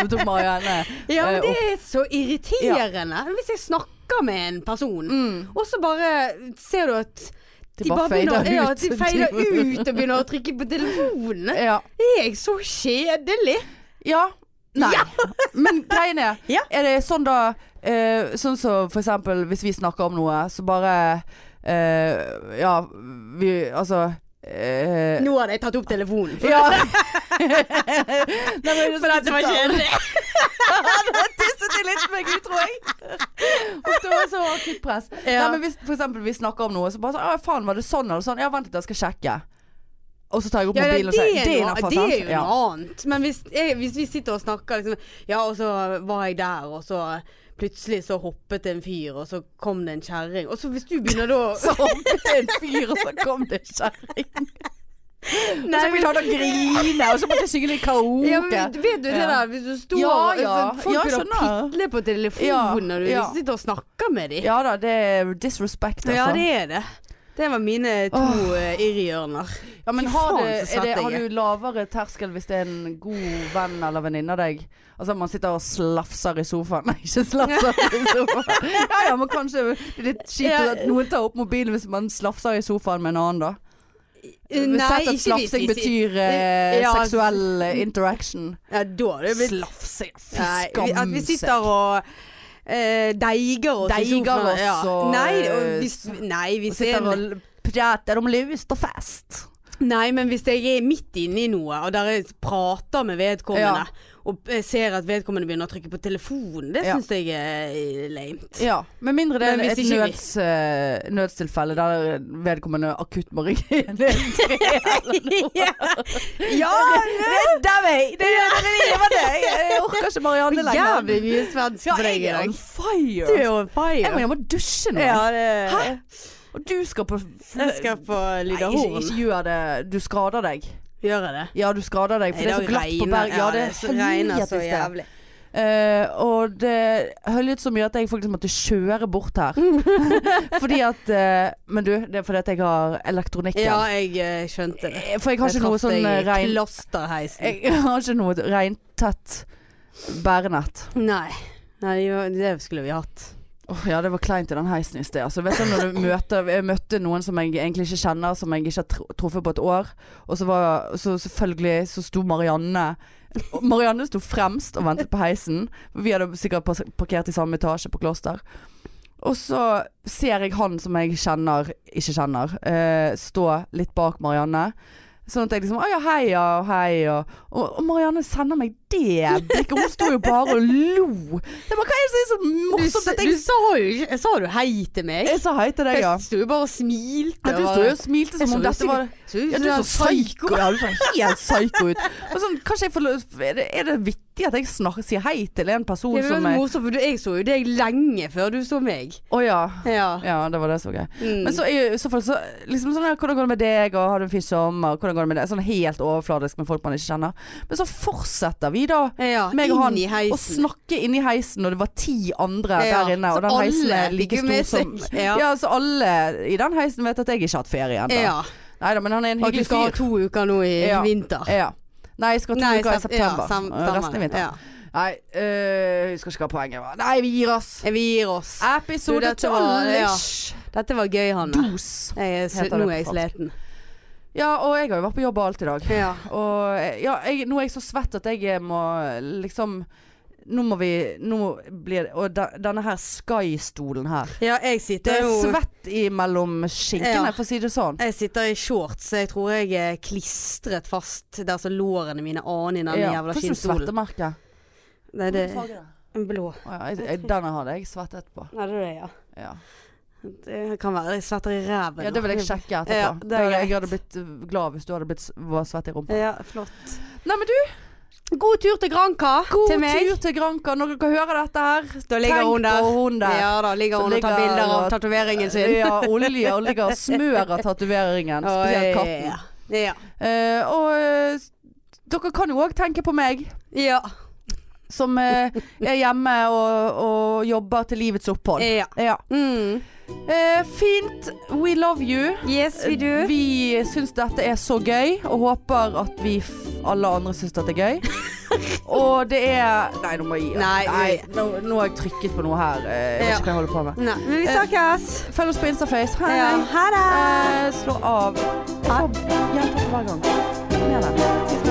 Speaker 1: Nå tok Marianne
Speaker 2: Ja,
Speaker 1: eh,
Speaker 2: men det
Speaker 1: opp.
Speaker 2: er så irriterende. Hvis jeg snakker med en person, og så bare ser du at
Speaker 1: De
Speaker 2: Mm. de
Speaker 1: bare
Speaker 2: bare begynner,
Speaker 1: fader
Speaker 2: ja,
Speaker 1: ut.
Speaker 2: de feider ut og begynner å trykke på telefonen.
Speaker 1: Ja.
Speaker 2: Er jeg så kjedelig?
Speaker 1: ja. Nei. Men greien er
Speaker 2: Ja.
Speaker 1: Er det sånn da eh, Sånn som for eksempel hvis vi snakker om noe, så bare eh, Ja, vi Altså eh,
Speaker 2: Nå hadde jeg tatt opp telefonen. For,
Speaker 1: Ja. Nei, men sånn
Speaker 2: for dette var kjedelig.
Speaker 1: Tisset jeg litt meg ut, tror jeg. Og det var så akutt press. Nei,
Speaker 2: Ja.
Speaker 1: men hvis for eksempel vi snakker om noe, så bare sånn Å, faen, var det sånn eller sånn? Ja, vent litt, jeg skal sjekke. Og så tar jeg opp
Speaker 2: Ja, det,
Speaker 1: mobilen og sier
Speaker 2: er
Speaker 1: Det er
Speaker 2: noe-
Speaker 1: innafor,
Speaker 2: det er
Speaker 1: sant?
Speaker 2: jo noe annet. Men hvis, jeg, hvis vi sitter og snakker liksom Ja, og så var jeg der, og så plutselig så hoppet en fyr, og så kom det en kjerring. Og så hvis du begynner da å-
Speaker 1: Så hoppet det en fyr, og så kom det en kjerring. Og så
Speaker 2: Nei, men-
Speaker 1: begynte han å grine, og så måtte jeg synge litt karaoke.
Speaker 2: ja, men Vet du det
Speaker 1: Ja.
Speaker 2: der, hvis du står
Speaker 1: Ja,
Speaker 2: og-
Speaker 1: ja.
Speaker 2: så Folk
Speaker 1: Ja,
Speaker 2: begynner å
Speaker 1: skjønner.
Speaker 2: pitle på telefonen
Speaker 1: Ja,
Speaker 2: når du
Speaker 1: ja.
Speaker 2: sitter og snakker med dem.
Speaker 1: Ja da, det er disrespect, altså.
Speaker 2: Ja, det er det. Det var mine to eh, irrhjørner.
Speaker 1: Ja, men
Speaker 2: Fy
Speaker 1: har,
Speaker 2: faen,
Speaker 1: det,
Speaker 2: så
Speaker 1: er
Speaker 2: svett
Speaker 1: det,
Speaker 2: jeg
Speaker 1: har
Speaker 2: er.
Speaker 1: du lavere terskel hvis det er en god venn eller venninne av deg? Altså man sitter og slafser i sofaen. Nei, ikke slafser i sofaen. Ja ja, men kanskje det er litt kjipt
Speaker 2: Ja.
Speaker 1: at noen tar opp mobilen hvis man slafser i sofaen med en annen, da. Vi
Speaker 2: Eh, Nei,
Speaker 1: sett at
Speaker 2: ikke hvis
Speaker 1: slafsing
Speaker 2: de sier-
Speaker 1: betyr eh,
Speaker 2: Ja, altså,
Speaker 1: seksuell interaction.
Speaker 2: Ja, da hadde det blitt
Speaker 1: Slafsing, fy
Speaker 2: Nei, vi-
Speaker 1: skam
Speaker 2: At vi
Speaker 1: seg.
Speaker 2: sitter og eh, deiger oss. i
Speaker 1: Deiger
Speaker 2: sofaen,
Speaker 1: oss
Speaker 2: ja.
Speaker 1: og-
Speaker 2: Nei, og hvis, nei, hvis jeg,
Speaker 1: Sitter og prater om lust og fest.
Speaker 2: nei, men hvis jeg er midt inne i noe, og der jeg prater med vedkommende,
Speaker 1: Ja.
Speaker 2: og eh, ser at vedkommende begynner å trykke på telefonen, det
Speaker 1: Ja.
Speaker 2: syns jeg er eh, lame.
Speaker 1: Ja, Med mindre det er
Speaker 2: Men hvis
Speaker 1: et
Speaker 2: ikke vi-
Speaker 1: nøds, eh, nødstilfelle der vedkommende akutt må rykke inn. Det
Speaker 2: ja!
Speaker 1: redder meg! Det redder livet! Jeg jeg orker ikke Marianne lenger.
Speaker 2: Jævlig mye svensk
Speaker 1: Ja,
Speaker 2: på deg
Speaker 1: jeg
Speaker 2: i
Speaker 1: er on
Speaker 2: dag. Du
Speaker 1: fire.
Speaker 2: er on fire.
Speaker 1: Jeg må hjem og dusje nå.
Speaker 2: Ja, det
Speaker 1: Hæ? Og du skal på
Speaker 2: Jeg skal på
Speaker 1: Nei, ikke,
Speaker 2: Lydahorn.
Speaker 1: ikke gjør det. Du skader deg.
Speaker 2: Gjør jeg det?
Speaker 1: Ja, du skader deg, for det er så glatt på Bergen. Ja, det er
Speaker 2: så regner
Speaker 1: helvetes
Speaker 2: så
Speaker 1: det.
Speaker 2: jævlig.
Speaker 1: Eh, og det høljet så mye at jeg faktisk måtte kjøre bort her. fordi at eh, Men du, det er fordi at jeg har elektronikken.
Speaker 2: Ja, jeg eh, skjønte det.
Speaker 1: Eh, For jeg har ikke noe sånn eh,
Speaker 2: Jeg traff deg i
Speaker 1: rein...
Speaker 2: klasterheisen.
Speaker 1: Jeg har ikke noe regntett bærenett.
Speaker 2: Nei. Nei, det var- det skulle vi hatt.
Speaker 1: Åh ja, det var kleint i den heisen i sted. Altså, vet du, når du møter, jeg møtte noen som jeg egentlig ikke kjenner, som jeg ikke har tr- truffet på et år. Og så var så selvfølgelig så sto Marianne og Marianne sto fremst og ventet på heisen. Vi hadde sikkert pas- parkert i samme etasje på Kloster. Og så ser jeg han som jeg kjenner, ikke kjenner, eh, stå litt bak Marianne. Sånn at jeg liksom Å ja, hei ja, og hei og Og, og Marianne sender meg det blikket. Hun sto jo bare og lo. Jeg bare, Hva er det som er så morsomt? at jeg
Speaker 2: du sa jo ikke Sa du hei til meg?
Speaker 1: jeg sa hei til deg, ja.
Speaker 2: Jeg sto jo bare og smilte.
Speaker 1: du sto jo og smilte
Speaker 2: Jeg
Speaker 1: som om
Speaker 2: så jo
Speaker 1: dette var Ja, du
Speaker 2: er
Speaker 1: så psyko Ja, du så helt psyko ut. Og sånn, kanskje jeg får lov Er det, er det vittig at jeg snak, sier hei til en person
Speaker 2: Det var
Speaker 1: som
Speaker 2: veldig
Speaker 1: er Å
Speaker 2: morsomt, for du- jeg så jo deg lenge før du så meg.
Speaker 1: ja.
Speaker 2: Ja.
Speaker 1: Ja, det var det som var gøy.
Speaker 2: Mm.
Speaker 1: Men så er jo i så fall så liksom sånn her, Hvordan går det med deg, og har du en fin sommer, hvordan går det med deg? Sånn helt overfladisk med folk man ikke kjenner. Men så fortsetter vi da.
Speaker 2: ja,
Speaker 1: Meg og han,
Speaker 2: inn i
Speaker 1: å
Speaker 2: heisen.
Speaker 1: snakke inni heisen, og det var ti andre
Speaker 2: Ja,
Speaker 1: der inne.
Speaker 2: så
Speaker 1: Og den
Speaker 2: alle
Speaker 1: heisen er
Speaker 2: fikk
Speaker 1: like
Speaker 2: jo
Speaker 1: stor
Speaker 2: med
Speaker 1: som
Speaker 2: seg.
Speaker 1: ja.
Speaker 2: Ja.
Speaker 1: så alle i den heisen vet at jeg ikke har hatt ferie ennå.
Speaker 2: Ja.
Speaker 1: Nei da, men han er en
Speaker 2: Og at du
Speaker 1: hyggelig
Speaker 2: skal ha
Speaker 1: fyr.
Speaker 2: to uker nå i
Speaker 1: Ja.
Speaker 2: vinter.
Speaker 1: Ja. Nei, jeg skal ha to
Speaker 2: Nei,
Speaker 1: uker i
Speaker 2: sep-
Speaker 1: september.
Speaker 2: ja, sam-
Speaker 1: Eh, Resten
Speaker 2: stemmer.
Speaker 1: i vinter.
Speaker 2: Ja.
Speaker 1: Nei, øh, jeg husker ikke hva poenget var. Nei, vi gir oss.
Speaker 2: Vi gir oss. Du,
Speaker 1: Episode
Speaker 2: dette var-
Speaker 1: 12.
Speaker 2: ja.
Speaker 1: -ish.
Speaker 2: Dette var gøy, Hanne.
Speaker 1: Dos.
Speaker 2: Jeg er,
Speaker 1: Heter det
Speaker 2: sl- nå er jeg
Speaker 1: på
Speaker 2: sliten.
Speaker 1: Ja, og jeg har jo vært på jobb og alt i dag.
Speaker 2: Ja.
Speaker 1: Og eh, ja, jeg, nå er jeg så svett at jeg eh, må liksom Nå må vi Nå blir det Og da, denne her Sky-stolen her.
Speaker 2: ja, jeg
Speaker 1: Det
Speaker 2: sitter
Speaker 1: er
Speaker 2: jo
Speaker 1: svett i mellom skinkene,
Speaker 2: Ja.
Speaker 1: for å si det sånn.
Speaker 2: Jeg sitter i shorts, så jeg tror jeg er klistret fast der så lårene mine aner i den
Speaker 1: Ja.
Speaker 2: jævla
Speaker 1: Får ikke du
Speaker 2: skinnstolen.
Speaker 1: svettemerke?
Speaker 2: Nei, det er en blå.
Speaker 1: Å ja, jeg- jeg- Den hadde jeg svettet på.
Speaker 2: Nei, det er det, ja.
Speaker 1: Ja.
Speaker 2: Det kan være jeg svetter i ræven.
Speaker 1: Ja, det vil jeg sjekke etterpå.
Speaker 2: Ja, det er
Speaker 1: jeg,
Speaker 2: greit.
Speaker 1: hadde blitt uh, glad hvis du hadde blitt s- var svett i rumpa.
Speaker 2: Ja, flott.
Speaker 1: Nei, men du,
Speaker 2: God tur til Granka
Speaker 1: god
Speaker 2: til meg.
Speaker 1: tur til Granka. Når dere hører dette her,
Speaker 2: Da ligger
Speaker 1: tenk
Speaker 2: hun der.
Speaker 1: på hun der.
Speaker 2: Ja da, ligger
Speaker 1: Så
Speaker 2: hun og tar
Speaker 1: ligger
Speaker 2: bilder av
Speaker 1: og-
Speaker 2: tatoveringen sin.
Speaker 1: Ja, olje og ligger og smører tatoveringen. Spesielt katten.
Speaker 2: Ja. Ja.
Speaker 1: Eh, og eh, dere kan jo òg tenke på meg,
Speaker 2: Ja.
Speaker 1: som eh, er hjemme og, og jobber til livets opphold.
Speaker 2: ja.
Speaker 1: Ja.
Speaker 2: Mm.
Speaker 1: Eh, fint. We love you.
Speaker 2: Yes, we do.
Speaker 1: Eh, Vi syns dette er så gøy, og håper at vi f alle andre syns dette er gøy. og det er Nei, nå må jeg gi opp.
Speaker 2: Nei, vi-
Speaker 1: nå, nå Eh, har jeg trykket på noe her. eh, Jeg vet
Speaker 2: Ja.
Speaker 1: ikke hva jeg holder på med.
Speaker 2: Nei, men vi snakkes.
Speaker 1: Følg oss på Instaface. Hei.
Speaker 2: Ja. Ha det.
Speaker 1: Eh, slå av. Jeg får jenter på hver gang. Kom igjen, da.